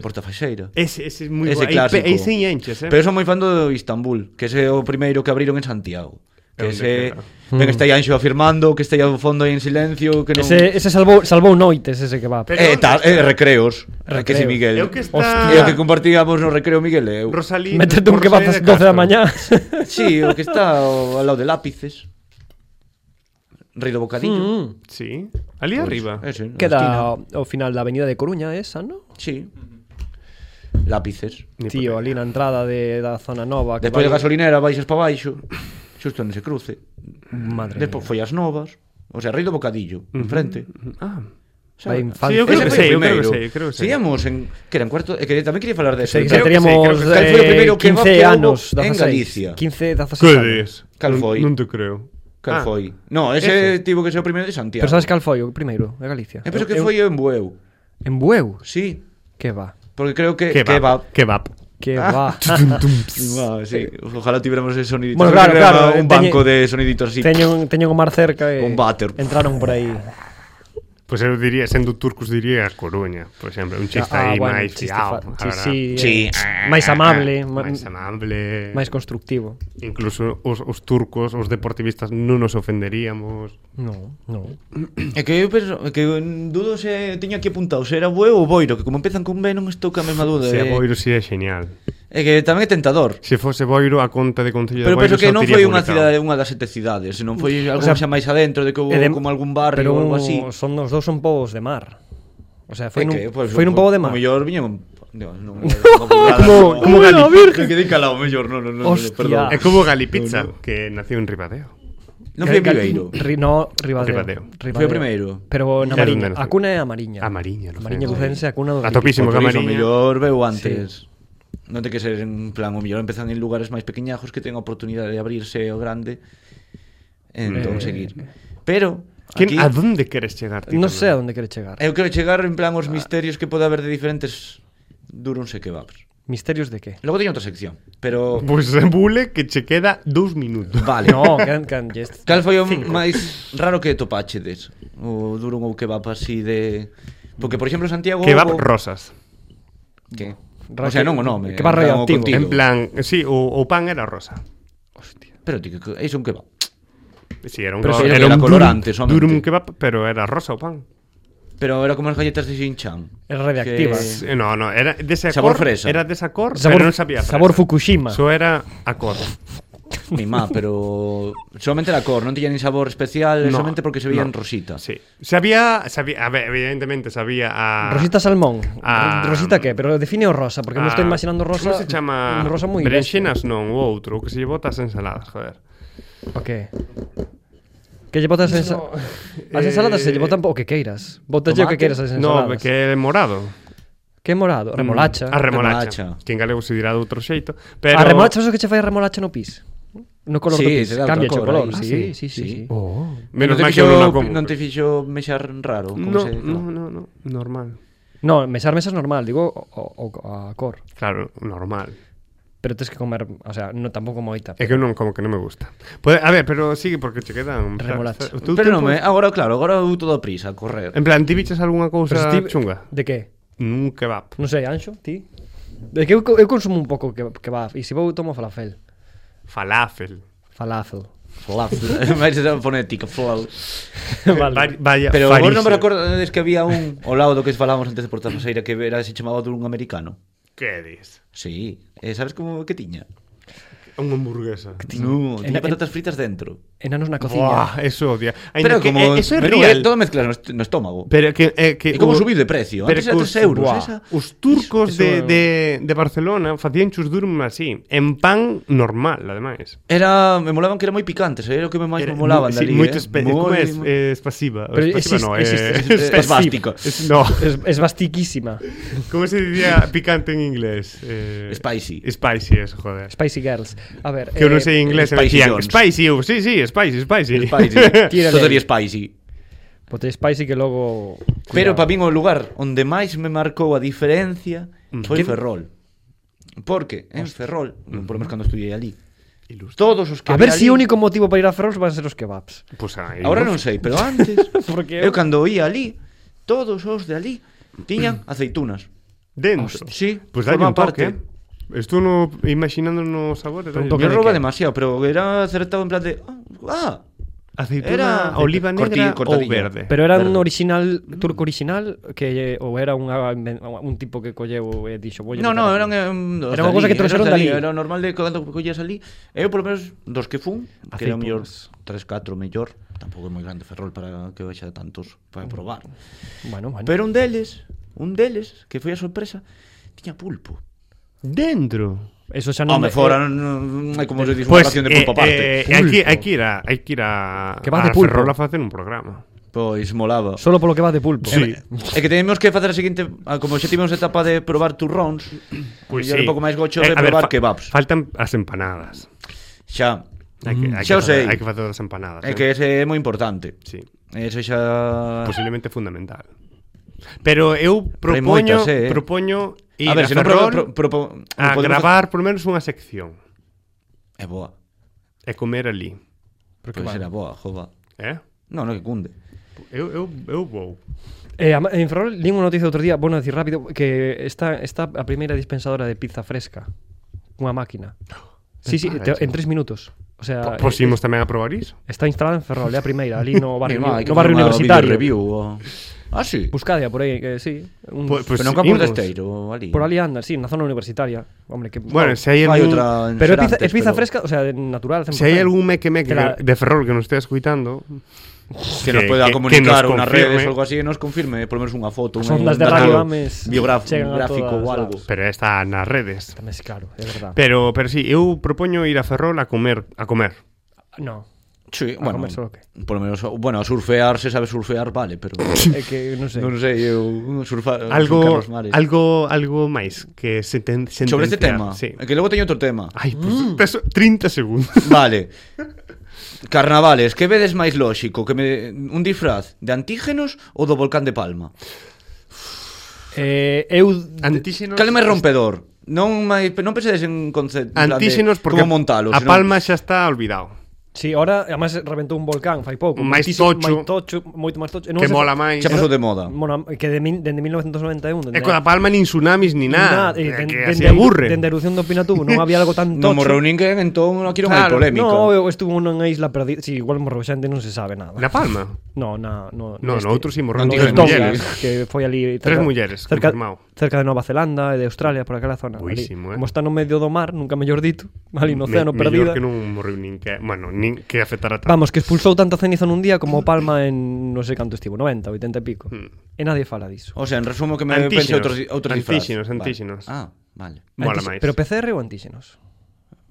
Oh,
Portafaxeira.
Ese, ese es muy
Ese
guay.
clásico.
Ahí sí enches, eh.
Pero son moi fan do Istambul, que ese é o primeiro que abriron en Santiago.
É
Que
onde
ese...
queda.
Ben,
Mm.
está aí Anxo afirmando, que está aí ao fondo aí en silencio, que non...
Ese, ese salvou, salvou noites ese que va.
Pero-
Eh, tal, eh, recreos.
Recreos.
recreos. Que si Miguel.
Eu que está...
É o que compartíamos no recreo Miguel e eu.
Rosalía.
Métete un
por
que vas
Rosalía
ás
de
12 da
Castro.
mañá.
Sí, o que está ao ao lado de lápices. Rei do bocadillo.
Mm,
Sí. Ali arriba.
Ese, na
Queda ao ao final da avenida de Coruña esa, non?
esquina. Sí. Lápices.
Ni
Tío,
puta
ali na entrada de, da zona nova. que
Despois da
vai-
gasolinera baixas para baixo, xusto nese cruce.
Madre
Despois foi as novas, o sea, Rei do bocadillo, enfrente.
Ah.
Da
Sí,
infancia.
eu creo
Ese
que
foi
sei,
o
eu creo que
primeiro.
sei, eu creo que sei.
Seguíamos en que era en cuarto, e que tamén quería falar de eso.
Sí,
creo
xa
que
teríamos
sí, creo que sí.
eh,
Cal foi o primeiro que
15
houbo
anos,
en
16.
Galicia?
15, 16
Que
anos.
des?
Cal
Non-
foi?
Non te creo.
Cal
Ah,
foi? No, ese, tivo que ser o primeiro de Santiago.
Pero sabes cal foi o primeiro de Galicia?
Eu penso que
Eu-
foi en Bueu.
En Bueu?
Sí,
Que va?
porque creo que
Ah, Kebab.
que va.
Kebab.
Que va?
Ah, sí. Ojalá tuviéramos ese sonidito.
Bueno,
Creo
claro,
que
claro,
era Un
teñe-
banco de soniditos así.
teño, un- teño un mar cerca e
Un váter.
entraron por aí.
Pois eu diría, sendo turcos, diría a Coruña, por exemplo.
Ah,
Un chiste aí máis fiado. a verdad.
sí, sí,
Sí.
sí.
Ah,
máis amable, ma-
Máis amable.
máis constructivo.
Incluso os, os turcos, os deportivistas, non nos ofenderíamos.
No, no.
É que eu penso, é que eu dudo se teño aquí apuntado se era Bueu ou Boiro, que como empezan con B non estou ca mesma duda.
Se é
eh.
Boiro, si é genial.
É que tamén é tentador.
Se fose Boiro, a conta de Concello de
Pero
Boiro
penso
xa
que
o
non
tería
foi unha
publicado.
cidade, unha das sete cidades, non foi algo
sea,
xa máis adentro de que houbo
E de-
como algún
pero
barrio ou algo así.
Son os dous son povos de mar. O sea, foi
É
nun,
que, pois,
foi nun pobo de mar.
O mellor viña un... No, non, como
como Galicia.
Que di calao, mellor, non, non, non,
Hostia. Eh,
perdón.
É como Galipizza, que nació en Ribadeo.
Non foi en
Gal-
Viveiro.
Ri, no, Ribadeo.
Ribadeo.
Ribadeo.
Foi o primeiro.
Pero na
Claro,
Mariña.
onde
A
nací.
cuna é a Mariña.
A Mariña,
A Mariña Lucense, a cuna do
A topísimo que a
Por iso, o
Mariña.
mellor veu antes. Non ten que ser en plan, o mellor empezan en lugares máis pequeñajos que ten a oportunidade de abrirse ao grande. Entón,
Eh.
seguir. Pero,
¿Quién,
aquí,
¿A dónde queres chegar? ti
Non
tamén?
sei a onde quere chegar.
eu quero chegar en plan os misterios que pode haber de diferentes durunse kebabs.
Misterios de que?
Logo teño outra sección, pero...
Pois se bule que che queda dous minutos.
Vale.
No, can, can, yes.
Cal foi o máis raro que topáchedes? O durum ou kebab así de... Porque, por exemplo, en Santiago...
Kebab
houbo-
rosas.
Que?
Ra-
O sea, non o nome.
kebab
en plan, o
radioactivo.
contido.
En plan, sí, o, o pan era rosa.
Pero Pero ti, que- que- iso un kebab.
Sí, era un,
Pero
co-
sí,
era
era
un durum-
colorante, solamente.
durum kebab, pero era rosa o pan.
Pero era como as galletas de Xinchang.
Era radiactiva.
Que-
Eh, No, no, era de ese
Sabor
acor,
fresa.
Era de ese acor,
Sabor,
pero non sabía a fresa.
sabor Fukushima.
Eso era acor.
Mi má, pero solamente la cor, non tiña nin sabor especial,
No,
solamente porque se veían
no.
rosita.
Sí. Sabía, sabía, a ver, evidentemente sabía a
Rosita salmón.
Ah.
Ro- Rosita que? Pero define o rosa, porque me
a-
estou imaginando rosa.
Como se chama?
un Rosa moi
Berenxenas non, o outro, o que se lle bota as ensaladas, joder.
bestia. O que? Que lle botas ensa...
No,
As
eh,
ensaladas se lle botan o que queiras. Botaslle o que
tomate?
queiras as
No,
ensaladas.
que é morado.
Que morado,
Mm.
remolacha.
A remolacha.
Remolacha.
Que en galego se dirá de outro xeito, pero
A remolacha, sabes o que che fai a remolacha no pis? No color
Sí,
do pis,
se dá outra
cambia o
cor
color.
aí. Ah,
sí,
sí,
sí, sí.
sí.
sí. Oh.
menos
non te
mal que
fixo,
eu non a compro.
non te fixo mexar raro, como
No,
se
no, no, no, normal.
No, mesar mesas normal, digo o, o, a cor.
Claro, normal.
Pero tens que comer, o sea, no tampouco moita.
É que eu non como que non me gusta. Pode, a ver, pero sigue porque che quedan
Remolacha.
Tú-
Pero
tú-
non, eh, agora claro, agora eu toda prisa a correr.
En plan, ti biches algunha cousa
Pero se ti-
chunga?
De que?
Un kebab.
Non sei, Anxo, ti? De que eu, co- eu consumo un pouco que, que va, e se vou tomo falafel.
Falafel.
Falafel.
Flaf. Mais esa fonética, flaf.
Vaya, vaya
Pero
farise.
vos non me recordades que había un ao lado do que falábamos antes de Porta Paseira que era se chamaba dun americano.
Que dis?
Sí, eh, sabes como que tiña?
Unha hamburguesa.
No, tiña
En-
patatas fritas dentro.
Enanos na cociña.
Buah, eso odia. Ainda
Pero
que,
como
eh, eso é
pero
real.
todo mezclado no est- no estómago.
Pero que, eh, que
E
o-
como subiu de precio,
pero
antes
que
era 3 euros,
buah,
esa-
Os turcos
Iso-
de,
iso-
de, de Barcelona facían chus durum así, en pan normal, ademais.
Era, me molaban que era moi picantes, era o que me máis
Era
me molaban
moi- sí,
dali,
moito
eh?
espe- como
Moi-
es, eh, espasiva.
Pero
espasiva
existe-
no, eh,
existe-
existe-
espe-
es bástico.
es- no.
Es, es bastiquísima.
¿Cómo se diría picante en inglés? Eh,
Spicy. Eh,
Spicy, eso, joder.
Spicy Girls. A ver. eh,
Que eu non sei en inglés, e me
Spicy
dicían,
Jones.
spicy, eu, sí, sí, spicy, spicy.
Spicy.
Tírale
Todo
aí.
era spicy.
Bote spicy que logo...
Pero para
Cuidado.
min o lugar onde máis me marcou a diferencia
Mm.
foi Ferrol. Porque en Ferrol, por lo menos cando estudiei ali, todos os que
A ver
había
si
alí-
o único motivo para ir a Ferrol van ser os kebabs.
Pues ahí,
Ahora
¿no?
non sei, pero antes
Porque
eu cando ia ali, todos os de ali tiñan
Mm.
aceitunas.
Dentro.
Sí,
Pues dalle
forma
un toque.
parte.
eh. Estou no, imaginando nos sabores. dalle
Un
un
toque
Me
de
roba
qué?
demasiado, pero era acertado en plan de ah,
Aceituna,
Era-
oliva
Corti-
negra ou
cortadillo.
verde.
Pero era un
Verde.
original, turco original, que ou era unha, inven- un tipo que colleu e dixo... "Voy a
No,
meter
no, eh,
aquí".
eran em, dos
Era unha
de
cousa
alí,
que trouxeron
eran de
de alí.
Era normal de cando collías ali. Eu, polo menos, dos que fun, que era o mellor 3, 4, mellor. Tampouco é moi grande Ferrol para que vexa tantos para
Mm.
probar.
Bueno, bueno.
Pero un deles, un deles, que foi a sorpresa, tiña pulpo.
Dentro.
Eso xa non...
Home,
me- eh,
fora, non hai como se dice, unha
Pois,
ración de
eh,
pulpo aparte.
hai, que,
Pulpo.
hai que ir a, hai que ir a,
Que vas
a
de pulpo.
Ferrol a facer un programa.
Pois molaba.
Solo polo que va de pulpo.
Sí.
É que tenemos que facer a seguinte, ah, como xa tivemos etapa de probar turróns,
Pois
mellor un pouco máis gocho
Pues
de
Eh, a ver,
probar
fa-
kebabs.
Faltan as empanadas.
Xa.
Hai que, hai
Xa
que
o sei.
facer, hai que facer as empanadas.
É
eh.
que ese é moi importante.
Sí.
Ese xa...
Posiblemente fundamental. Pero eu
hai
propoño,
moitas, eh.
propoño ir
A ver,
a
se non
Ferrol
pro, pro, propo-
a
podemos-
gravar por menos unha sección
É boa.
e comer ali,
Porque será boa, jova.
eh?
No, no que cunde.
Eu, eu, eu vou.
Eh, ama- en Ferrol li unha noticia outro día, bueno, decir rápido, que está, está a primeira dispensadora de pizza fresca. Unha máquina. Sí, sí,
Ah,
te, en tres minutos. O sea, eh,
Pois imos tamén a probar iso.
está instalada en Ferrol, é a primeira, ali no barrio,
Mira, hai que
no barrio
facer unha
universitario.
videoreview, o- Ah, sí.
Buscadea por aí, que sí. Un,
Pois- pois
Pero non campo
imos.
de esteiro, ali.
por ali anda, sí, na zona universitaria. Hombre, que...
Bueno, se hai
Hai
algún,
outra Ah, en
Pero é pizza,
Serantes,
é pizza
pero-
fresca, o sea, de- natural. 100%.
se hai algún meque meque
Que la-
de Ferrol que nos estea escuitando,
que
que-
nos poida
que- que
comunicar
nos
unhas
confirme.
redes ou algo así, e nos confirme, por lo menos unha
As
foto, un,
ondas de
dato
Radio Ames
biográfico,
chegan a
gráfico
todas
ou algo.
lados.
pero está nas redes.
Tamén, sí, claro, é verdad.
Pero pero si, sí, eu propoño ir a Ferrol a comer, a comer.
Ah, No,
Sí,
A
bueno,
comer solo que.
por lo menos, bueno, a surfear, se sabe surfear, vale, pero
é que non sei.
non sei, eu surfar,
Algo
Carlos Mares.
algo algo máis que se
Sobre este tema,
Sí.
é que logo teño outro tema.
Ai, pues,
Mm.
peso 30 segundos.
Vale. Carnavales, que vedes máis lóxico? Que me un disfraz de antígenos ou do volcán de Palma?
Eh, eu
Antíxenos.
Cal é máis rompedor? Non máis non pensedes en concepto en plan de
Antíxenos porque
como montalo,
a Palma xa está olvidado.
Sí, ahora, además, reventou un volcán fai pouco.
Máis tocho.
Moitísimo- Máis tocho, moito máis tocho. E non
Que
se-
mola máis.
Xa pasou de moda.
Bueno, que de, min- dende 1991.
E coa palma nin tsunamis ni nada. que
eh, den-
así
dende a-
aburre.
Dende a erupción do Pinatubo non había algo tan tocho.
Non morreu ninguén, entón aquí non hai
Claro,
polémica.
No, eu estuve unha isla perdida. Si, sí, igual morreu xente, non se sabe nada.
Na palma.
No, na, no,
No, no outro si morreu
Non
tres
digas
mulleres.
mulleres.
que foi ali
Tres mulleres,
cerca,
confirmado.
cerca de Nova Zelanda e de Australia, por aquela zona. ali.
Buísimo, eh.
Como está no medio do mar, nunca mellor dito, ali no
Me-
océano
mellor
perdida.
que non morreu nin que, bueno, nin que afectara tanto.
Vamos, que expulsou tanta ceniza nun día como o Palma en non sei canto estivo, 90, 80 e pico.
Hmm.
E nadie fala diso.
O sea, en resumo que me
Antíxenos.
pensei outro, outro disfraz.
Antíxenos,
Vale.
antíxenos.
Ah, vale.
Mola
Antíxe-
máis.
Pero PCR ou antíxenos?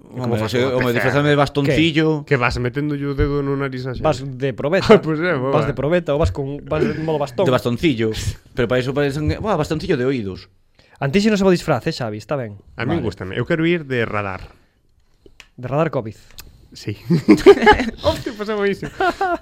Como
Como
fas
fase,
unha
o
PCR?
me disfrazame de bastoncillo.
Que vas metendo yo o dedo no nariz así.
Vas de probeta.
Ah, pois é, boa.
vas de probeta ou vas con vas en modo bastón.
De bastoncillo. Pero para iso parecen... Buah, bastoncillo de oídos.
Antíxenos é bo disfraz, eh, Xavi, está ben.
A min
Vale.
gustame. Eu quero ir de radar.
De radar COVID.
Sí. Hostia, pues é buenísimo.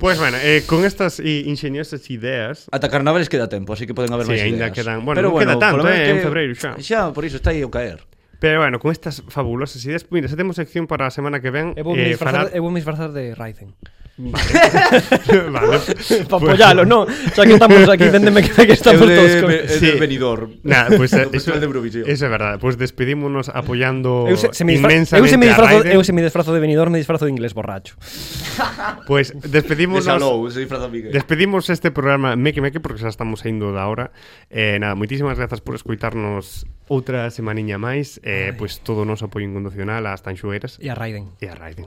Pues bueno, eh, con estas i- ingeniosas ideas
Atacar naves queda tempo, así que poden haber
Sí,
máis
aínda
ideas.
quedan- bueno, non queda tanto,
polo
eh,
menos
en
que-
febreiro xa.
Xa, por iso está aí o caer.
Pero bueno, con estas fabulosas ideas Mira, xa temos sección para a semana que ven
Eu
eh,
vou me disfrazar,
falar-
eu vou me disfrazar de Ryzen.
vale. Pues,
Pa apoialo, non? Xa que estamos aquí, entendeme que, que estamos
Eu de-
todos con...
me- eu de
Sí.
venidor.
Nah, pues, eh,
Do
eso,
Festival de Eurovisión.
eso é verdade Pois pues despedímonos apoyando
Eu se, se me disfra...
inmensamente
eu se me
a
disfrazo,
Raiden
eu se me disfrazo de venidor, me disfrazo de inglés borracho.
Pois Pues, despedímonos
Desalou, se disfraza Miguel.
Despedimos este programa Meque Meque porque xa estamos saindo da hora. Eh, nada, moitísimas grazas por escoitarnos outra pues semaniña máis. Eh, pois todo o noso apoio incondicional ás Tanxueras
E a Raiden.
e a Raiden.